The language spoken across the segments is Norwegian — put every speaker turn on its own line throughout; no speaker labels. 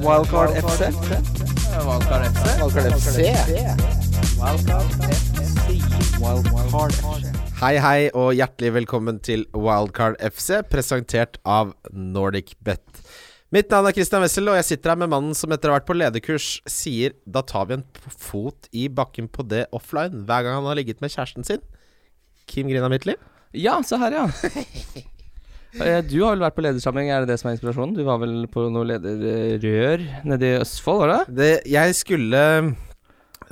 Wildcard FC.
Valkar FC.
Wildcard FC. Wildcard FC.
Hei, hei, og hjertelig velkommen til Wildcard FC, presentert av NordicBet. Mitt navn er Christian Wessel, og jeg sitter her med mannen som etter å ha vært på lederkurs sier da tar vi en p- fot i bakken på det offline hver gang han har ligget med kjæresten sin. Kim Grina Midtliv.
Ja, se her, ja. Eh, Du har vel vært på ledersamling, er det det som er inspirasjonen? Du var vel på noe lederrør nede i Østfold, var det?
Det, jeg skulle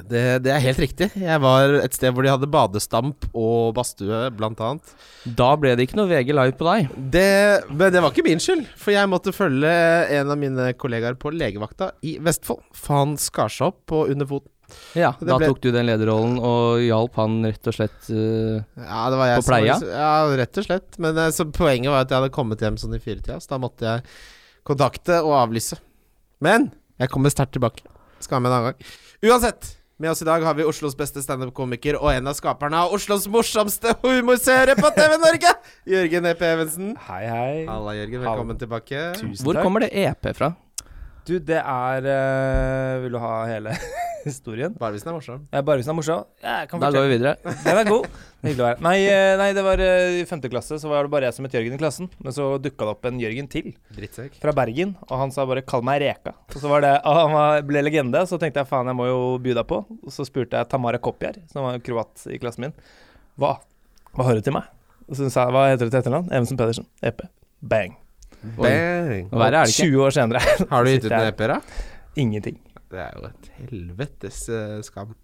det, det er helt riktig. Jeg var et sted hvor de hadde badestamp og badstue, blant annet.
Da ble det ikke noe VG live på deg.
Det, men det var ikke min skyld, for jeg måtte følge en av mine kollegaer på legevakta i Vestfold. For han skar seg opp på underfoten.
Ja,
Det
Da
ble-
tok du den lederrollen og hjalp han rett og slett eh,
Ja, det var jeg
På
som var- liksom-
pleia?
ja, rett og slett. Men eh, så poenget var at jeg hadde kommet hjem sånn i firetida, så da måtte jeg kontakte og avlyse. Men jeg kommer sterkt tilbake. Skal være med en annen gang. Uansett. Med oss i dag har vi Oslos beste standup-komiker og en av skaperne av Oslos morsomste humorserie på TV Norge, Jørgen E.P. Evensen.
Hei, hei.
Halla, Jørgen. Velkommen tilbake.
Tusen
Hvor
takk.
kommer det EP fra?
Du, det er eh, Vil du ha hele historien?
Bare hvis den er morsom.
Eh, Bare hvis den er morsom. Ja, Jeg kan
Da går
fortelle.
vi videre.
Den er god. Hyggelig å være her. Nei, eh, nei, det var eh, i femte klasse, så var det bare jeg som het Jørgen i klassen. Men så dukka det opp en Jørgen til,
Drittsekk.
fra Bergen, og han sa bare 'kall meg Reka'. Og så var det, og han var, ble legende, så tenkte jeg faen, jeg må jo by deg på. Og så spurte jeg Tamara Kopjar, som var kroat i klassen min, hva, hva har du til meg? Og så sa jeg hva heter du til etternavn? Evensen Pedersen. EP. Bang.
Bang.
Og verre er det ikke.
20 år senere.
Har du gitt ut
Sitter
noen
jeg-
EP-er, da?
Ingenting.
Det er jo et helvetes eh, skam.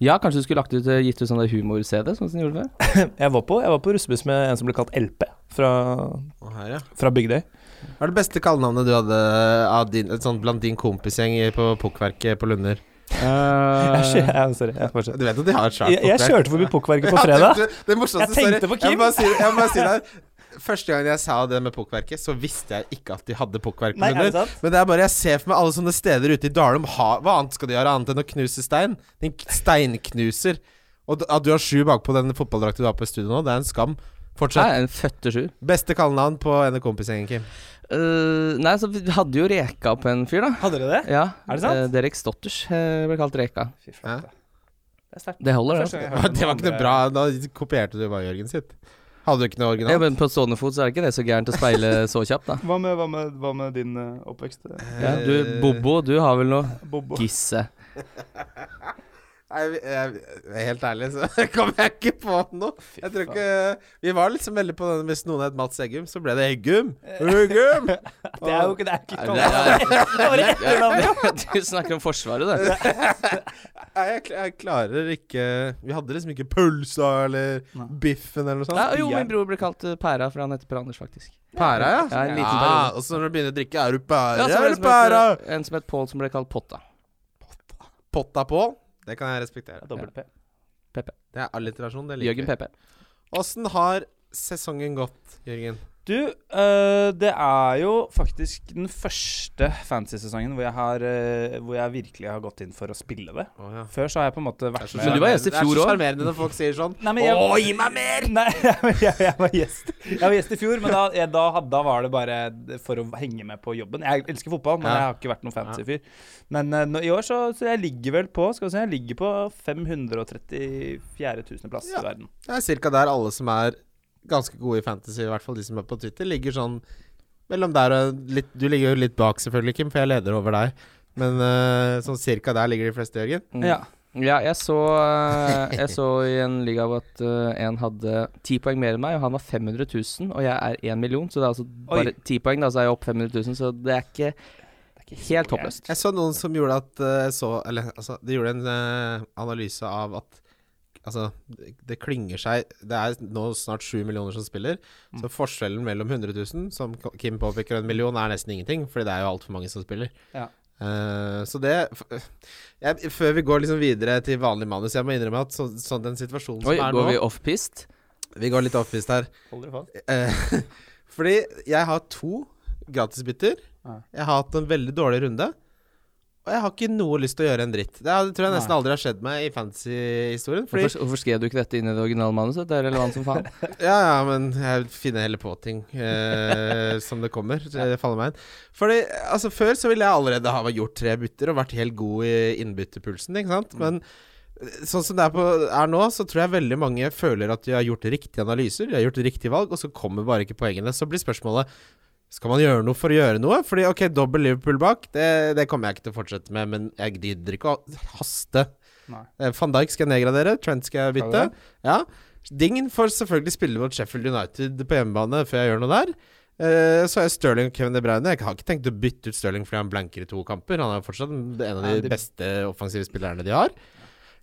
Ja, kanskje du skulle lagt ut, eh, gitt ut sånn der humor-CD, sånn som du gjorde før?
Jeg var på, jeg var på russebuss med en som ble kalt LP fra,
Å, her, ja.
fra Bygdøy.
Hva er det beste kallenavnet du hadde av din, et sånt blant din kompisgjeng i- på pukkverket på Lunder?
Jeg,
Eh,
kjø- jeg, sorry, jeg, fortsetter.
Du vet at de har et svært
jeg, jeg kjørte forbi pukkverket på
Ja,
fredag.
det, det, det morsomste
Jeg tenkte på
Jeg
Kim.
må bare si, jeg må bare si det. Første gang jeg sa det med pukkverket, så visste jeg ikke at de hadde pukkverk på
Nei, er det
Lunder.
sant?
Men det er bare jeg ser for meg alle sånne steder ute i Dalum. Ha, hva annet skal de gjøre annet enn å knuse stein? Din k- steinknuser. Og d- at du har sju bakpå den fotballdrakten du har på i studio nå, det er en skam. Fortsett.
Nei, en føtte sju.
Beste kallenavn på en av kompisgjengen, Kim.
Eh, nei, så vi hadde jo Reka på en fyr, da.
Hadde dere det?
Ja,
Er det sant?
eh, Derek Stotters eh, ble kalt Reka.
Fy
Ja.
flate. Det er sterkt.
Det holder,
Første
det.
gang jeg
Det
hørte
var, det var
noen
ikke noe
andre-
bra. Da kopierte du bare Jørgen sitt. Hadde du ikke noe
Ja,
originalt?
men på stående fot så er det ikke det så gærent å speile så kjapt, da.
Hva med, hva med, hva med din eh, oppvekst? eh,
Ja, du, Bobo, du har vel noe
Eh,
Bobo?
Gisse.
Nei, vi- jeg, jeg, helt ærlig så kom jeg ikke på noe. Jeg tror ikke Vi var liksom veldig på den hvis noen het Mats Eggum, så ble det Eggum. Eggum!
Det er jo ikke det. er ikke
Nei,
kallet. Det var et etternavn, ja.
Du snakker om Forsvaret, du.
Nei, jeg, kl- jeg klarer ikke Vi hadde liksom ikke pølsa eller biffen eller noe
Nei,
sånt.
jo, min bror ble kalt eh, Pæra, for han heter Per Anders, faktisk.
Pæra,
Ja,
ja.
en liten
ja
periode.
og så når du begynner å drikke, er du pæra
Ja, så var det
eller
en som het-
pæra?
En som het Pål, som ble kalt Potta.
Potta på. Det kan jeg respektere.
Dobbelt P.
Det er alliterasjon. Det liker
Jørgen
vi.
PP.
Åssen har sesongen gått, Jørgen?
Du,
eh,
øh, det er jo faktisk den første fantasy-sesongen hvor, jeg har,
eh,
øh, hvor jeg virkelig har gått inn for å spille det.
Å, ja.
Før så har jeg på en måte vært
Men du var gjest i fjor
Det er så
også.
sjarmerende når folk sier sånn.
Nei, men jeg-
Å, gi meg mer!
Nei, jeg, jeg, var gjest. jeg var gjest i fjor, men da, jeg, da, had- da var det bare for å henge med på jobben. Jeg elsker fotball, men
Ja.
jeg har ikke vært noen fantasy-fyr. Men øh, nå, i år så, så jeg ligger vel på skal vi se, jeg ligger på 534 000 plass
Ja.
i verden.
Det er cirka der alle som er ganske gode i fantasy, i hvert fall de som er på Twitter, ligger sånn mellom der og litt Du ligger jo litt bak selvfølgelig, Kim, for jeg leder over deg. Men eh, sånn cirka der ligger de fleste, Jørgen.
Ja.
Mm. Ja, jeg så, eh, jeg så i en liga hvor at eh, en hadde ti poeng mer enn meg, og han var 500 000, og jeg er én million, så det er altså bare ti poeng, da, så er jeg opp 500 000, så det er ikke, helt håpløst.
Jeg så noen som gjorde at eh, jeg så Eller altså, de gjorde en eh, analyse av at Altså, det det klynger seg Det er nå snart sju millioner som spiller.
Mm.
Så forskjellen mellom 100 000, som K- Kim påpeker, og en million, er nesten ingenting. Fordi det er jo altfor mange som spiller.
Ja.
Eh, så det f- jeg, Før vi går liksom videre til vanlig manus, jeg må innrømme at så, sånn den situasjonen som
Oi,
er nå
går vi off-pist?
vi går litt off-pist her.
Hold dere fast.
Eh, Fordi jeg har to gratisbytter.
Ja.
Jeg har hatt en veldig dårlig runde. Og Og jeg har ikke noe lyst til å gjøre en dritt. Det er- det tror jeg nesten
Nei.
aldri har skjedd meg i fantasy-historien. Fordi
Hvorfor, hvorfor skrev du ikke dette inn i det originale manuset? Det er relevant som faen.
Ja, ja, men jeg finner heller på ting eh, som det kommer. så Det faller meg inn. Fordi, altså Før så ville jeg allerede ha gjort tre bytter og vært helt god i innbyttepulsen. ikke sant? Men eh, sånn som det er, på, er nå, så tror jeg veldig mange føler at de har gjort riktige analyser, de har gjort riktig valg, og så kommer bare ikke poengene. Så blir spørsmålet skal man gjøre noe for å gjøre noe? Fordi ok, dobbel Liverpool bak, det, det kommer jeg ikke til å fortsette med, men jeg gidder ikke å haste.
Nei.
Eh, Van Dijk skal jeg nedgradere, Trent skal jeg bytte.
Skal
Ja. Dingen får selvfølgelig spille mot Sheffield United på hjemmebane før jeg gjør noe der. Eh, så har jeg Sterling og Kevin De Bruyne. Jeg har ikke tenkt å bytte ut Sterling fordi han blanker i to kamper. Han er jo fortsatt en av
Nei,
de
de-
beste offensive spillerne de har.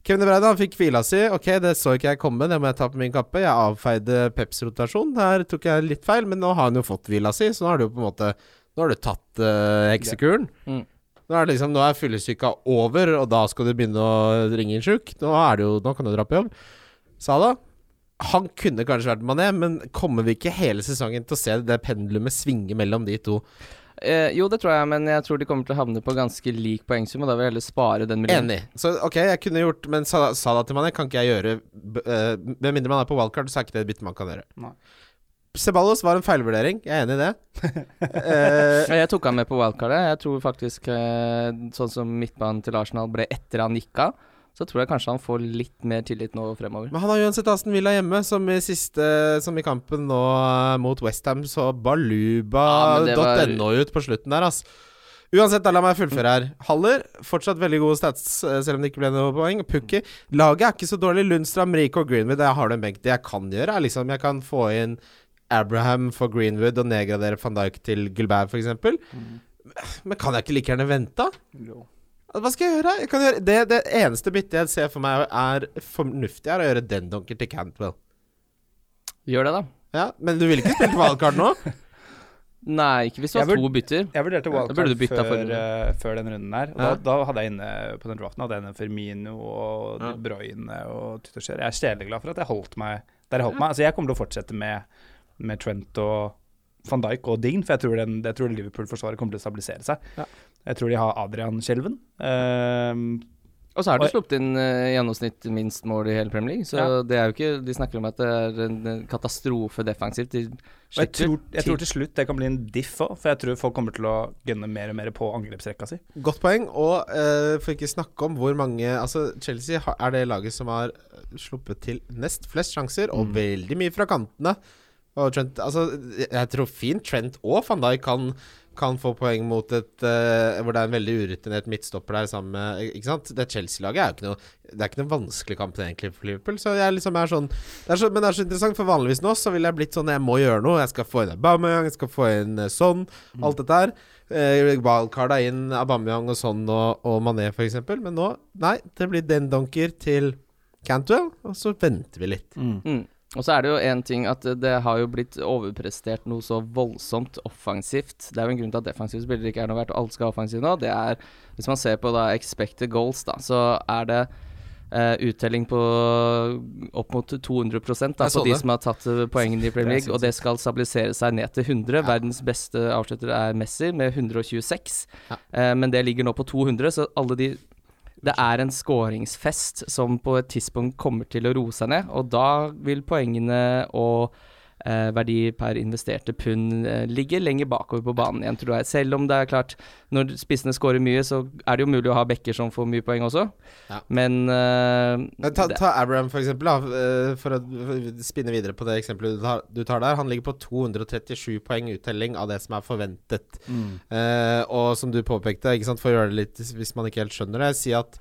Kevin De Bruyne han fikk hvila si. Ok, det så ikke jeg komme, det må jeg ta på min kappe. Jeg avfeide Peps rotasjon. Der tok jeg litt feil, men nå har han jo fått hvila si, så nå har du jo på en måte Nå har du tatt eh, heksekuren.
Mm.
Nå er, det liksom, nå er fyllesyka over, og da skal du begynne å ringe inn sjuk. Nå, er det jo, nå kan du dra på jobb. Sala han kunne kanskje vært Mané, men kommer vi ikke hele sesongen til å se det pendulumet svinge mellom de to?
Eh, jo, det tror jeg, men jeg tror de kommer til å havne på ganske lik poengsum, og da vil jeg heller spare den millionen.
Enig. Så ok, jeg kunne gjort Men Sala, Sala til Mané kan ikke jeg gjøre b- eh, Med mindre man er på wildcard, så er ikke det et bytte man kan gjøre.
Nei.
Ceballos var en feilvurdering, jeg er enig i det. Eh,
Jeg tok han med på wildcardet. Jeg tror faktisk eh, Sånn som midtbanen til Arsenal ble etter han gikk av, så tror jeg kanskje han får litt mer tillit nå fremover.
men han har uansett Aston Villa hjemme, som i, siste, som i kampen nå eh, mot Westham, så
Ja, men det var-
baluba.no ut på slutten der, ass. Uansett, da la meg fullføre her. Haller, fortsatt veldig gode stats, eh, selv om det ikke ble noe poeng. Pukki. Laget er ikke så dårlig. Lundstrand, Rico og Greenwood, jeg har det benk. Det jeg kan gjøre, er liksom Jeg kan få inn Abraham for Greenwood og nedgradere van Dijk til Gulbert, f.eks. eksempel
Mm.
Men kan jeg ikke like gjerne vente? da? Altså, Hva skal jeg gjøre? Jeg kan gjøre det, det eneste byttet jeg ser for meg er fornuftig, er å gjøre den donker til Cantwell.
Gjør det, da.
Ja, men du ville ikke spilt valgkart nå?
Nei, ikke hvis du har
Jeg vurd-
to bytter.
Jeg vurderte
Ja, da burde
wildcard
du bytte
før,
forrige
eh, før den runden her. Og
Ja.
da, da hadde jeg inne på den draften hadde jeg inne Firmino og De Bruyne og Tutterskjær. Jeg er sjeleglad for at jeg holdt meg der jeg holdt meg. Altså, jeg kommer til å fortsette med, med Trent og van Dijk og Dign, for jeg tror, den, jeg tror Liverpool-forsvaret kommer til å stabilisere seg.
Ja.
Jeg tror de har Adrian-skjelven. Eh,
Og så har
Oi.
du sluppet inn eh, i gjennomsnitt minst mål i hele Premier League, så
Ja.
det er jo ikke De snakker om at det er en en katastrofe defensivt. De
Og jeg
slipper
tror, jeg tror til slutt det kan bli en diff òg, for jeg tror folk kommer til å gunne mer og mer på angrepsrekka si.
Godt poeng, og eh, for ikke snakke om hvor mange Altså, Chelsea har, er det laget som har eh, sluppet til nest flest sjanser, og veldig mye fra kantene. Og Trent Altså, jeg tror fint Trent og van Dijk kan, kan få poeng mot et eh, Hvor det er en veldig urutinert midtstopper der sammen med Ikke sant? Det Chelsea-laget er jo ikke noe Det er ikke noen vanskelig kamp egentlig for Liverpool, så jeg liksom er sånn det er så, Men det er så interessant, for vanligvis nå så ville jeg blitt sånn Jeg må gjøre noe. Jeg skal få inn Aubameyang, jeg skal få inn eh, sånn, alt dette her. Eh, Wildcarda inn Aubameyang og sånn og, og Mané for eksempel Men nå, nei, det blir den donker til Cantwell, og så venter vi litt.
Mm. Og så er det jo én ting at eh, det har jo blitt overprestert noe så voldsomt offensivt. Det er jo en grunn til at defensive spillere ikke er noe verdt, og alle skal ha offensiv nå. Det er, hvis man ser på da expected goals, da, så er det eh, uttelling på opp mot 200 da,
Jeg så
på de
det.
som har tatt eh, poengene i Premier League, og det skal stabilisere seg ned til 100. Verdens beste avslutter er Messi med 126,
Ja.
eh, men det ligger nå på 200, så alle de det er en skåringsfest som på et tidspunkt kommer til å roe seg ned, og da vil poengene og eh, verdi per investerte pund eh, ligge lenger bakover på banen igjen, tror jeg. Selv om det er klart, når spissene skårer mye, så er det jo mulig å ha bekker som får mye poeng også,
Ja.
men eh,
Men Ta,
det,
ta Abraham, for eksempel, da, eh, for å spinne videre på det eksempelet du tar, du tar der. Han ligger på 237 poeng uttelling av det som er forventet.
Mm.
Eh, og som du påpekte, ikke sant, for å gjøre det litt hvis man ikke helt skjønner det, si at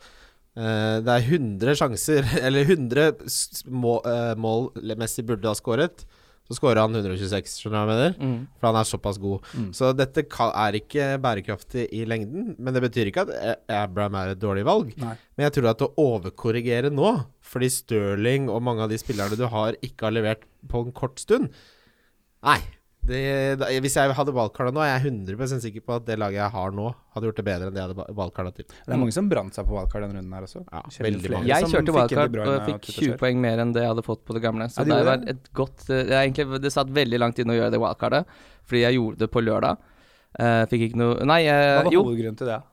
eh, det er 100 sjanser, eller 100 s- må, eh, mål Messi burde ha skåret. Så skårer han 126, skjønner du hva jeg mener?
mm.
For han er såpass god.
Mm.
Så dette ka- er ikke bærekraftig i lengden. Men det betyr ikke at A- Abraham er et dårlig valg.
Nei.
Mm.
Men jeg tror at å overkorrigere nå, fordi Stirling og mange av de spillerne du har, ikke har levert på en kort stund Nei. Det, da, hvis jeg hadde valgkarta nå, er jeg 100 sikker på at det laget jeg har nå, hadde gjort det bedre enn det jeg hadde ba- valgkarta til.
Det er mange som brant seg på wildcard denne runden her også.
Ja,
Jeg kjenner
veldig
flere
mange.
Jeg
som
kjørte
fikk inn De
wildcard og
Bruyne
jeg fikk 20
Tuchel.
poeng mer enn det jeg hadde fått på det gamle. Så
Ja, du
det
gjorde
var et godt eh, det er egentlig, Det satt veldig langt inne å gjøre det wildcardet, fordi jeg gjorde det på lørdag. Eh, fikk ikke noe Nei,
Hva
eh,
var
jo.
hovedgrunnen til det?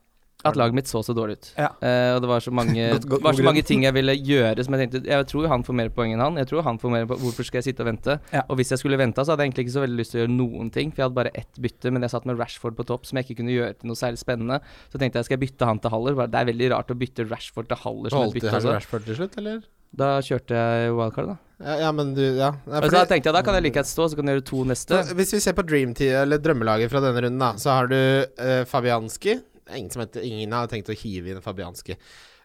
At laget mitt så så dårlig ut.
Ja.
Eh, og det var så mange,
Godt- godt-
var
god
så mange ting jeg ville gjøre som jeg tenkte Jeg tror han får mer poeng enn han. Jeg tror han får mer po- Hvorfor skal jeg sitte og vente?
Ja.
Og hvis jeg skulle venta, så hadde jeg egentlig ikke så veldig lyst til å gjøre noen ting. For jeg hadde bare ett bytte, men jeg satt med Rashford på topp, som jeg ikke kunne gjøre til noe særlig spennende. Så tenkte jeg skal jeg bytte han til Haller. Bare, det er veldig rart å bytte Rashford til Haller som et
Holdt de
bytte.
her
Altså.
Rashford til slutt, eller?
Da kjørte jeg wildcard, da.
Ja, ja men du Ja. Nei,
Og
fordi-
da tenkte Altså, jeg da kan jeg like gjerne stå, så kan jeg gjøre to neste.
Så hvis vi ser på Dream Team, eller drømmelaget fra denne runden, da, så har du eh, Fabianski. Det er Ingen, som heter, ingen har tenkt å hive inn Fabianski.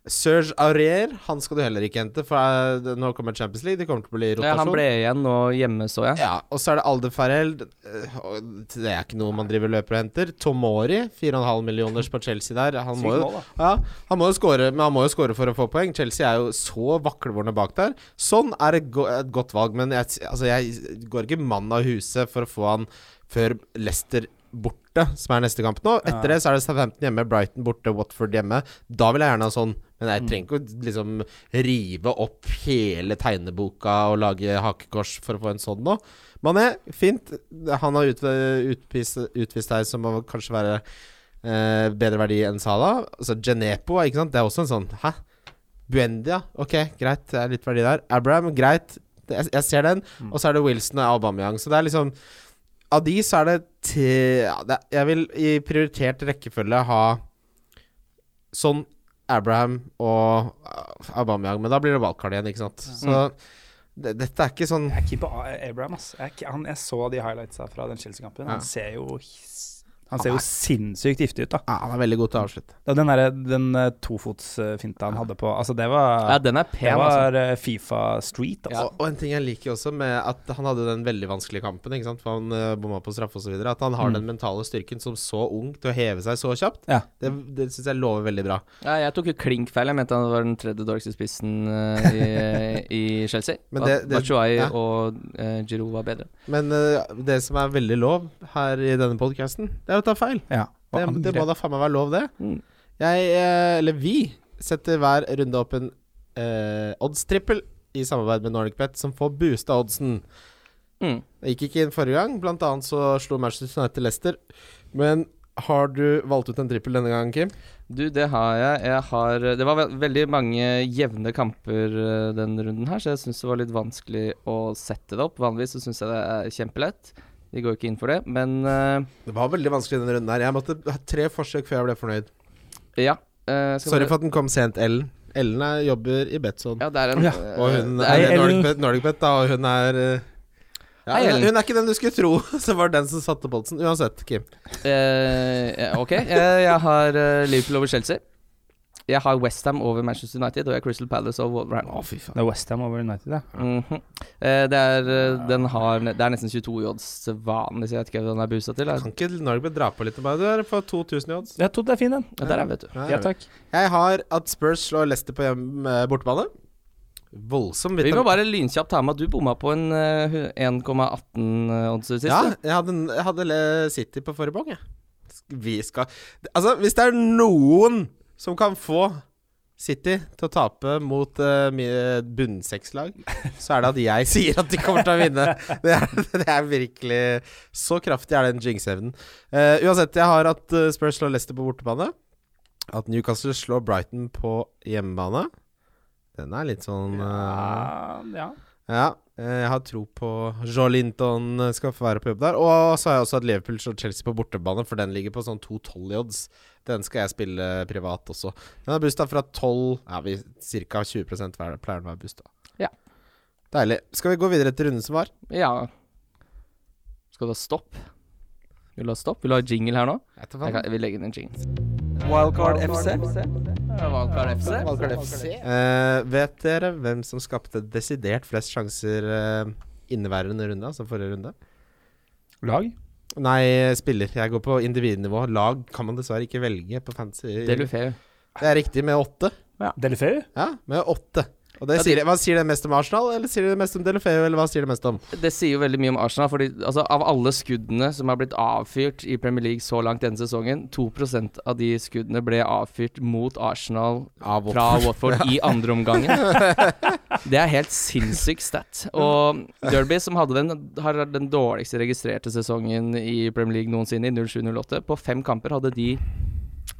Serge Aurier, han skal du heller ikke hente, for eh, det- nå kommer Champions League. Det kommer til å bli
Ja,
rotasjon.
han ble igjen nå hjemme, så jeg.
Ja, Og så er det Alde Farrell. Det er ikke noe man driver løper og henter. Tomori, 4,5 millioners på Chelsea der. Han må, jo, ja, han må jo score, men han må jo score for å få poeng. Chelsea er jo så vaklevorne bak der. Sånn er et, go et godt valg, men jeg, s- altså, jeg går ikke mann av huset for å få han før Leicester borte, som er neste kamp nå. Etter det så er det Southampton hjemme, Brighton borte, Watford hjemme. Da vil jeg gjerne ha sånn, men jeg trenger ikke å liksom rive opp hele tegneboka og lage hakekors for å få en sånn nå. Mané, fint. Han har ut, utvist, utvist her som å kanskje være eh, bedre verdi enn Salah. Altså Genepo, ikke sant. Det er også en sånn Hæ? Buendia, ok, greit. Det er litt verdi der. Abraham, greit. Det- Jeg, jeg ser den. Og så er det Wilson og Aubameyang. Så det er liksom Av de så er det tre ja, det, Jeg vil i prioritert rekkefølge ha sånn Abraham og uh, Aubameyang, men da blir det valgkart igjen, ikke sant. Så det, dette er ikke sånn
Jeg er keeper A- Abraham, ass. Jeg, er ikke- han, jeg så de highlightsa fra den Chelsea-kampen.
Ja.
Han ser jo his- han ser jo sinnssykt giftig ut, da.
Ja, Han er veldig god til å avslutte.
Da Den, derre- den eh, tofotsfinta han hadde på Altså, det var,
Ja, den er
det
pen, altså.
var eh, Fifa Street, altså.
Og, og en ting jeg liker også med at han hadde den veldig vanskelige kampen, ikke sant? for han eh, bomma på straffe osv., at han har den mentale styrken som så ung til å heve seg så kjapt,
Ja.
det, det syns jeg lover veldig bra.
Ja, jeg tok jo klink feil. Jeg mente han var den tredje dårligste spissen eh, i, i Chelsea.
Men
At
det- det-
Batshuayi
ja.
og uh, Giroud var bedre.
Men eh, det som er veldig lov her i denne podkasten, det er å ta feil.
Ja. Og
Det,
han
det
grep-
må da faen meg være lov, det.
Mm.
Jeg, eh, eller vi, setter hver runde opp en eh, oddstrippel i samarbeid med Nordic Bet, som får boosta oddsen.
Mm.
Det gikk ikke inn forrige gang, blant annet så slo Manchester United Leicester. Men har du valgt ut en trippel denne gangen, Kim?
Du, det har jeg. jeg har, det var ve veldig mange jevne kamper eh, denne runden her, så jeg syns det var litt vanskelig å sette det opp. Vanligvis så syns jeg det er kjempelett. Vi går ikke inn for det. Men eh,
Det var veldig vanskelig denne runden her. Jeg måtte ha tre forsøk før jeg ble fornøyd.
ja. eh, skal
Sorry
bare-
for at den kom sent, Ellen. Ellen er, jobber i Betson.
ja, det er en,
Ja,
eh,
Og hun
det
er,
er,
Hei, Ellen.
Nordic, Bet, Nordic Bet, da, og hun er eh, ja,
Hei, Ellen.
hun, hun er ikke den du skulle tro som var den som satte opp oddsen. Uansett, Kim.
eh, ok, eh, jeg har eh, Liverpool over Chelsea. Jeg har Westham over Manchester United, og jeg har Crystal Palace over Wolverhampton.
Å, fy faen.
Det er Westham over United, ja.
Mhm. Eh, det, er, eh, den har, ne- det er nesten 22 i odds til vanlig, så jeg vet ikke hva den er boosta til. Jeg.
Kan ikke Norge bare dra på litt og bare Du er på 2000 i odds.
Jeg trodde det er fin, den.
Ja, der er, vet du.
Ja,
Ja takk.
Jeg har at Spurs slår Leicester på hjem, eh, bortebane. Voldsom
Vi må
vitam-
bare lynkjapt ta med at du bomma på en eh, hu- 1,18 odds sist.
Ja,
du.
jeg hadde, jeg hadde Le- City på forrige bong, jeg. Vi skal Altså, hvis det er noen som kan få City til å tape mot eh, mi- bunnsekslag, så er det at jeg sier at de kommer til å vinne. Det er, det er virkelig Så kraftig er den jinx-evnen. Eh, uansett, jeg har at eh, Spurs slår Leicester på bortebane. At Newcastle slår Brighton på hjemmebane. Den er litt sånn eh,
Ja, Ah, ja.
ja, eh, jeg har tro på Joe Linton eh, skal få være på jobb der. Og så har jeg også hatt Liverpool og Chelsea på bortebane, for den ligger på sånn 2-12 i odds. Den skal jeg spille privat også. Den har busta fra 12 Ja, vi ca. 20 hver pleier den å være busta.
Ja.
Deilig. Skal vi gå videre til runden som var?
Ja. Skal du ha stopp? Vil du ha stopp? Vil du ha jingle her nå? Jeg, kan, jeg vil legge inn en jingle.
Wildcard FC.
Valgkar FC.
Eh, vet dere hvem som skapte desidert flest sjanser eh, inneværende runde, altså forrige runde?
Lag?
Nei, spiller. Jeg går på individnivå. Lag kan man dessverre ikke velge på fancy.
Delufeu.
Det er riktig med åtte.
Ja. Delefeu?
Ja, med åtte. Og det
Ja,
sier, hva sier det mest om Arsenal, eller sier det mest om Delefeu, eller hva sier det mest om?
Det sier jo veldig mye om Arsenal. Fordi altså, Av alle skuddene som har blitt avfyrt i Premier League så langt denne sesongen, 2 av de skuddene ble avfyrt mot Arsenal
Av åtte.
fra Watford i andre omgangen. Det er helt sinnssyk stat. Og Derby, som hadde den, har den dårligste registrerte sesongen i Premier League noensinne, i 07-08, på fem kamper hadde de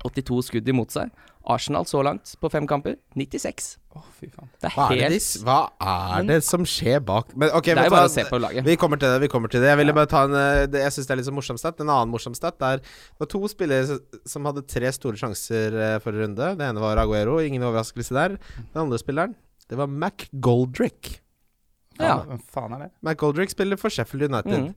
82 skudd imot seg. Arsenal så langt på fem kamper 96.
Å, fy faen.
Det er
Hva er, det,
helt
de s- hva er det som skjer bak Men ok,
Det
vet
er
du
jo bare
hva?
å se på laget.
Vi kommer til det. vi kommer til det Jeg ville bare ta en eh, det, Jeg syns det er litt så morsom stat. En annen morsom stat er det var to spillere s- som hadde tre store sjanser eh, forrige runde. Det ene var Aguero, ingen overraskelse der. Den andre spilleren, det var Mac Goldrick.
Ja.
Hvem faen er det?
Mac Goldrick spiller for Sheffield United.
Mm.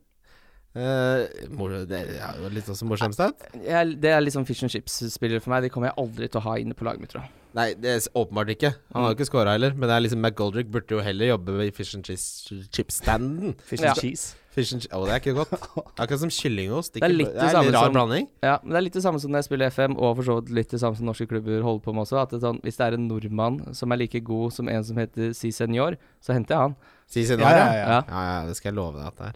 Eh, mor, det er jo litt også morsom stat.
Jeg, det er liksom fish and chips-spillere for meg. De kommer jeg aldri til å ha inne på laget mitt, tror jeg.
Nei, det er s- åpenbart ikke. Han
Mm.
har jo ikke scora heller. Men det er liksom Mac Goldrick burde jo heller jobbe i fish and cheese- chip-standen.
Fish and
Ja.
cheese.
Fish and chi- Å, det er ikke godt. Det er Akkurat som kyllingost.
Det er litt
det
det
er en
samme
rar
som-
blanding.
Ja, men Det er litt det samme som når jeg spiller FM, og for så vidt litt det samme som norske klubber holder på med også. At det er sånn, Hvis det er en nordmann som er like god som en som heter Si Senior, så henter jeg han.
Si sin
Ja,
vare.
ja,
Ja,
ja.
Ja, ja, det skal jeg love deg at det er.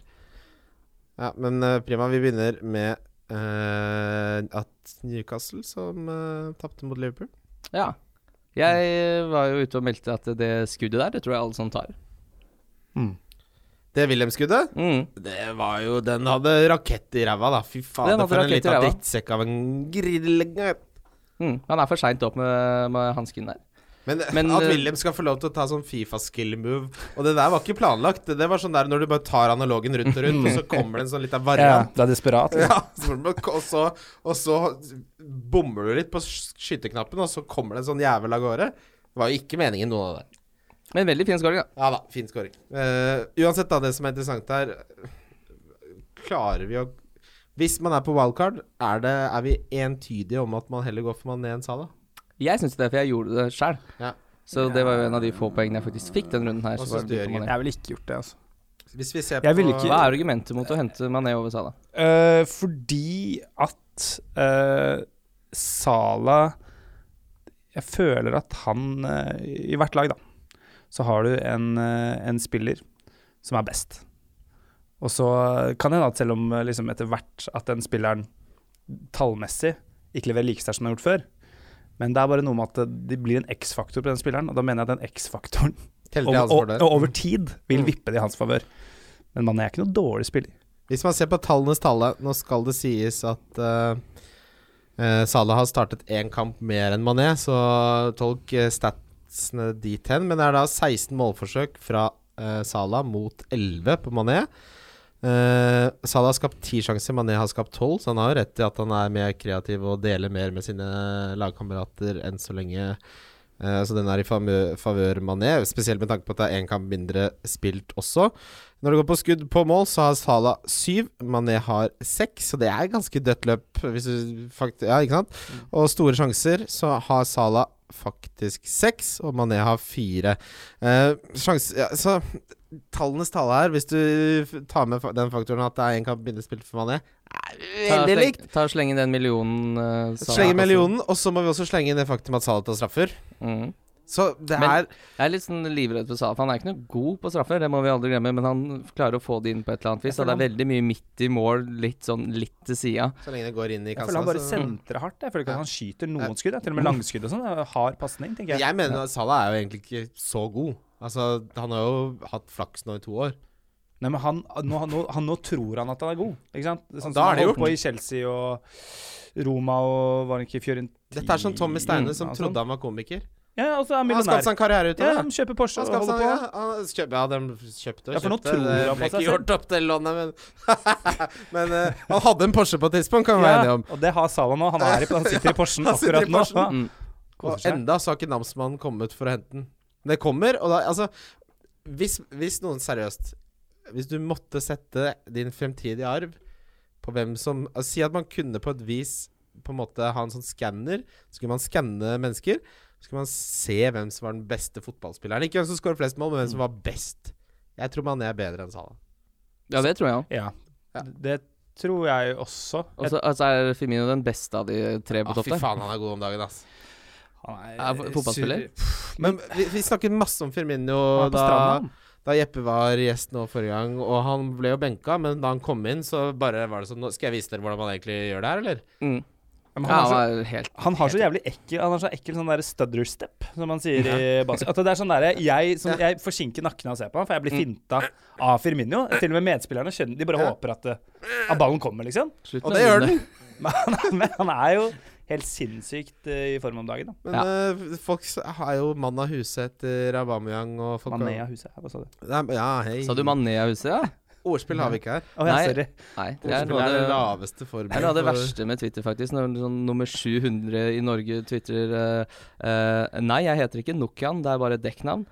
Ja, men eh, prima, vi begynner med eh, at Newcastle, som uh, tapte mot Liverpool
Ja. Jeg eh, var jo ute og meldte at det skuddet der, det tror jeg alle som tar.
Det Wilhelm-skuddet,
Mm.
det var jo Den hadde rakett i ræva, da. Fy faen,
Den
det
hadde
for en
rakett i
liten
ræva.
drittsekk av en grillegutt.
Mm. Han er for seint opp med, med hansken der.
Men, eh,
Men,
at
eh,
Wilhelm skal få lov til å ta sånn Fifa-skill-move Og det der var ikke planlagt. Det var sånn der når du bare tar analogen rundt og rundt, og så kommer det en sånn liten
Ja,
variant.
det er desperat. liksom.
Ja, så må du- og så, og så bommer du litt på sk- skyteknappen, og så kommer det en sånn jævel av gårde. Det var jo ikke meningen, noen av det.
Men veldig fin scoring, da.
Ja da, fin scoring. Eh, uansett, da, det som er interessant her Klarer vi å Hvis man er på wildcard, er, det, er vi entydige om at man heller går for Mané enn Salah?
Jeg syns det, for jeg gjorde det sjøl.
Ja.
Så det var jo en av de få poengene jeg faktisk fikk den runden her.
Hva
så var
synes
det
du,
på Mané.
Jeg ville ikke gjort det, altså.
Hvis vi ser på
Jeg vil ikke-
Hva er argumentet mot å hente Mané over Salah?
Eh, fordi at eh, Sala Jeg føler at han eh, I hvert lag, da, så har du en, eh, en spiller som er best. Og så kan det hende at selv om eh, liksom etter hvert at den spilleren tallmessig ikke leverer like sterkt som han har gjort før, men det er bare noe med at eh, det- det blir en X-faktor på den spilleren, og da mener jeg at den X-faktoren
Telte jeg
og,
hans
og,
fordel?
og over tid vil vippe det i hans favør. Men man er ikke noe dårlig spiller.
Hvis man ser på tallenes tale, nå skal det sies at eh, eh, Salah har startet én kamp mer enn Mané, så tolk eh, statsene dit hen. Men det er da 16 målforsøk fra eh, Salah mot 11 på Mané. Eh, Salah har skapt 10 sjanser, Mané har skapt 12, så han har jo rett i at han er mer kreativ og deler mer med sine lagkamerater enn så lenge. Eh, så den er i famø- favør Mané, spesielt med tanke på at det er én kamp mindre spilt også. Når det går på skudd på mål, så har Salah syv, Mané har seks, så det er ganske dødt løp. Hvis du fakt ja, ikke sant?
Mm.
Og store sjanser, så har Salah faktisk seks, og Mané har fire. Eh, sjans, ja, så tallenes tale her, hvis du f- tar med fa- den faktoren at det er én kamp mindre spilt for Mané,
Ta,
er veldig
sleng,
likt.
ta og Slenge den millionen eh, Salah
Slenge
har
millionen, og så må vi også slenge inn det faktum at Salah tar straffer.
kastet. Mm.
Så det
Men-
er
Jeg er litt sånn livredd for Salah, for han er ikke noe god på straffer, det må vi aldri glemme, men han klarer å få det inn på et eller annet vis. Og det er veldig mye midt i mål, litt sånn litt til sida.
Så lenge det går inn i
Jeg
kassa.
føler han bare
så-
sentrer hardt. Jeg føler
Ja.
ikke at han skyter noen skudd. jeg. Til og med langskudd og sånn. det er Hard pasning, tenker jeg.
Jeg mener at Salah er jo egentlig ikke så god. Altså, han har jo hatt flaks nå i to år.
Nei, men han, nå, han, nå, han, nå tror han at han er god, ikke sant? Sånn som
da er
han
det
holdt
gjort.
på i Chelsea og Roma og var det ikke Fiorentina
Dette er som Tommy Steine som
og sånn.
trodde han var komiker.
Ja, og så er han
Han skapte
millionær.
seg en karriere ut
Ja,
av
han
det.
kjøper Porsche
Han
og
skapte
holder
seg,
på.
ja, han kjøp, ja, de kjøpte og
Ja, for nå
kjøpte.
tror
Det
han på
ble
seg
ikke
selv.
gjort opp til lånet, men Men eh, han hadde en Porsche på et tidspunkt, kan vi være
Ja,
enige om.
og det har Salah nå. Han, er i, han sitter i Porschen
Han sitter i
akkurat nå.
Porschen.
Mm.
Koser
Og
seg.
enda så har ikke namsmannen kommet for å hente den. Men det kommer, og da Altså, hvis, hvis noen seriøst Hvis du måtte sette din fremtidige arv på hvem som altså, Si at man kunne på et vis på en måte ha en sånn skanner. Så kunne man skanne mennesker. Så kunne man se hvem som var den beste fotballspilleren. Ikke hvem som skårer flest mål, men hvem som var best. Jeg tror man er bedre enn Salah.
Ja, det tror jeg òg.
Ja. Det tror jeg også.
Og så altså, er Firmino den beste av de tre på
Ah, fy
topp der.
faen, han er god om dagen, ass.
Han
Er f- fotballspiller?
Men vi, vi snakket masse om Firmino
Han er på
da
stranda.
Da Jeppe var gjest nå forrige gang, og han ble jo benka, men da han kom inn, så bare var det sånn «Nå Skal jeg vise dere hvordan man egentlig gjør det her, eller?
Mm.
Ja, men
Ja,
han er så-
han er helt
Han har så jævlig ekkel Han har så ekkel sånn der stutter step, som man sier i basket. At det er sånn der, jeg, som, jeg forsinker nakken av å se på han, for jeg blir
Mm.
finta av Firmino. Til og med medspillerne skjønner De bare håper at, eh, at ballen kommer, liksom.
Slutt
Og
med
det gjør
det.
den!
Men, han- men han er jo helt sinnssykt eh, i form om dagen. da.
Men
Ja.
eh, folk s- har jo mann av huset etter Aubameyang og folk
Mané av huset. Hva sa du?
Nei, men- Ja, hei.
Sa du Mané-huset, ja?
Ordspill har vi ikke her.
Å, ja,
Nei.
sorry.
Nei. Det er
Ordspill
noe
er det
av det
laveste formen.
det er noe av det
for-
verste med Twitter, faktisk. Når sånn nummer 700 i Norge twitrer eh, eh, Nei, jeg heter ikke Nokian, det er bare et dekknavn.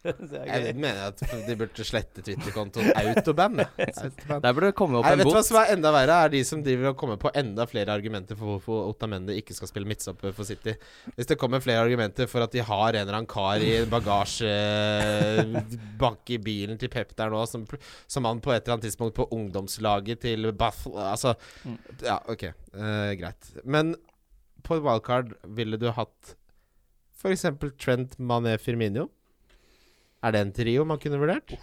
Det er
Jeg
gøy.
mener at de burde slette Twitter-kontoen Autoband. jeg. Autoband.
Der burde det komme opp
Nei,
en
vet du hva
bot.
som er enda verre? Er de som driver og kommer på enda flere argumenter for hvorfor Otamendi ikke skal spille midtstopper for City. Hvis det kommer flere argumenter for at de har en eller annen kar i en bagasjebank i bilen til Pep der nå, som, pl- som han på et eller annet tidspunkt på ungdomslaget til Bath Altså
Mm.
Ja, ok. eh, greit. Men på wildcard ville du hatt f.eks. Trent Mané Firmino. Er det en trio man kunne vurdert?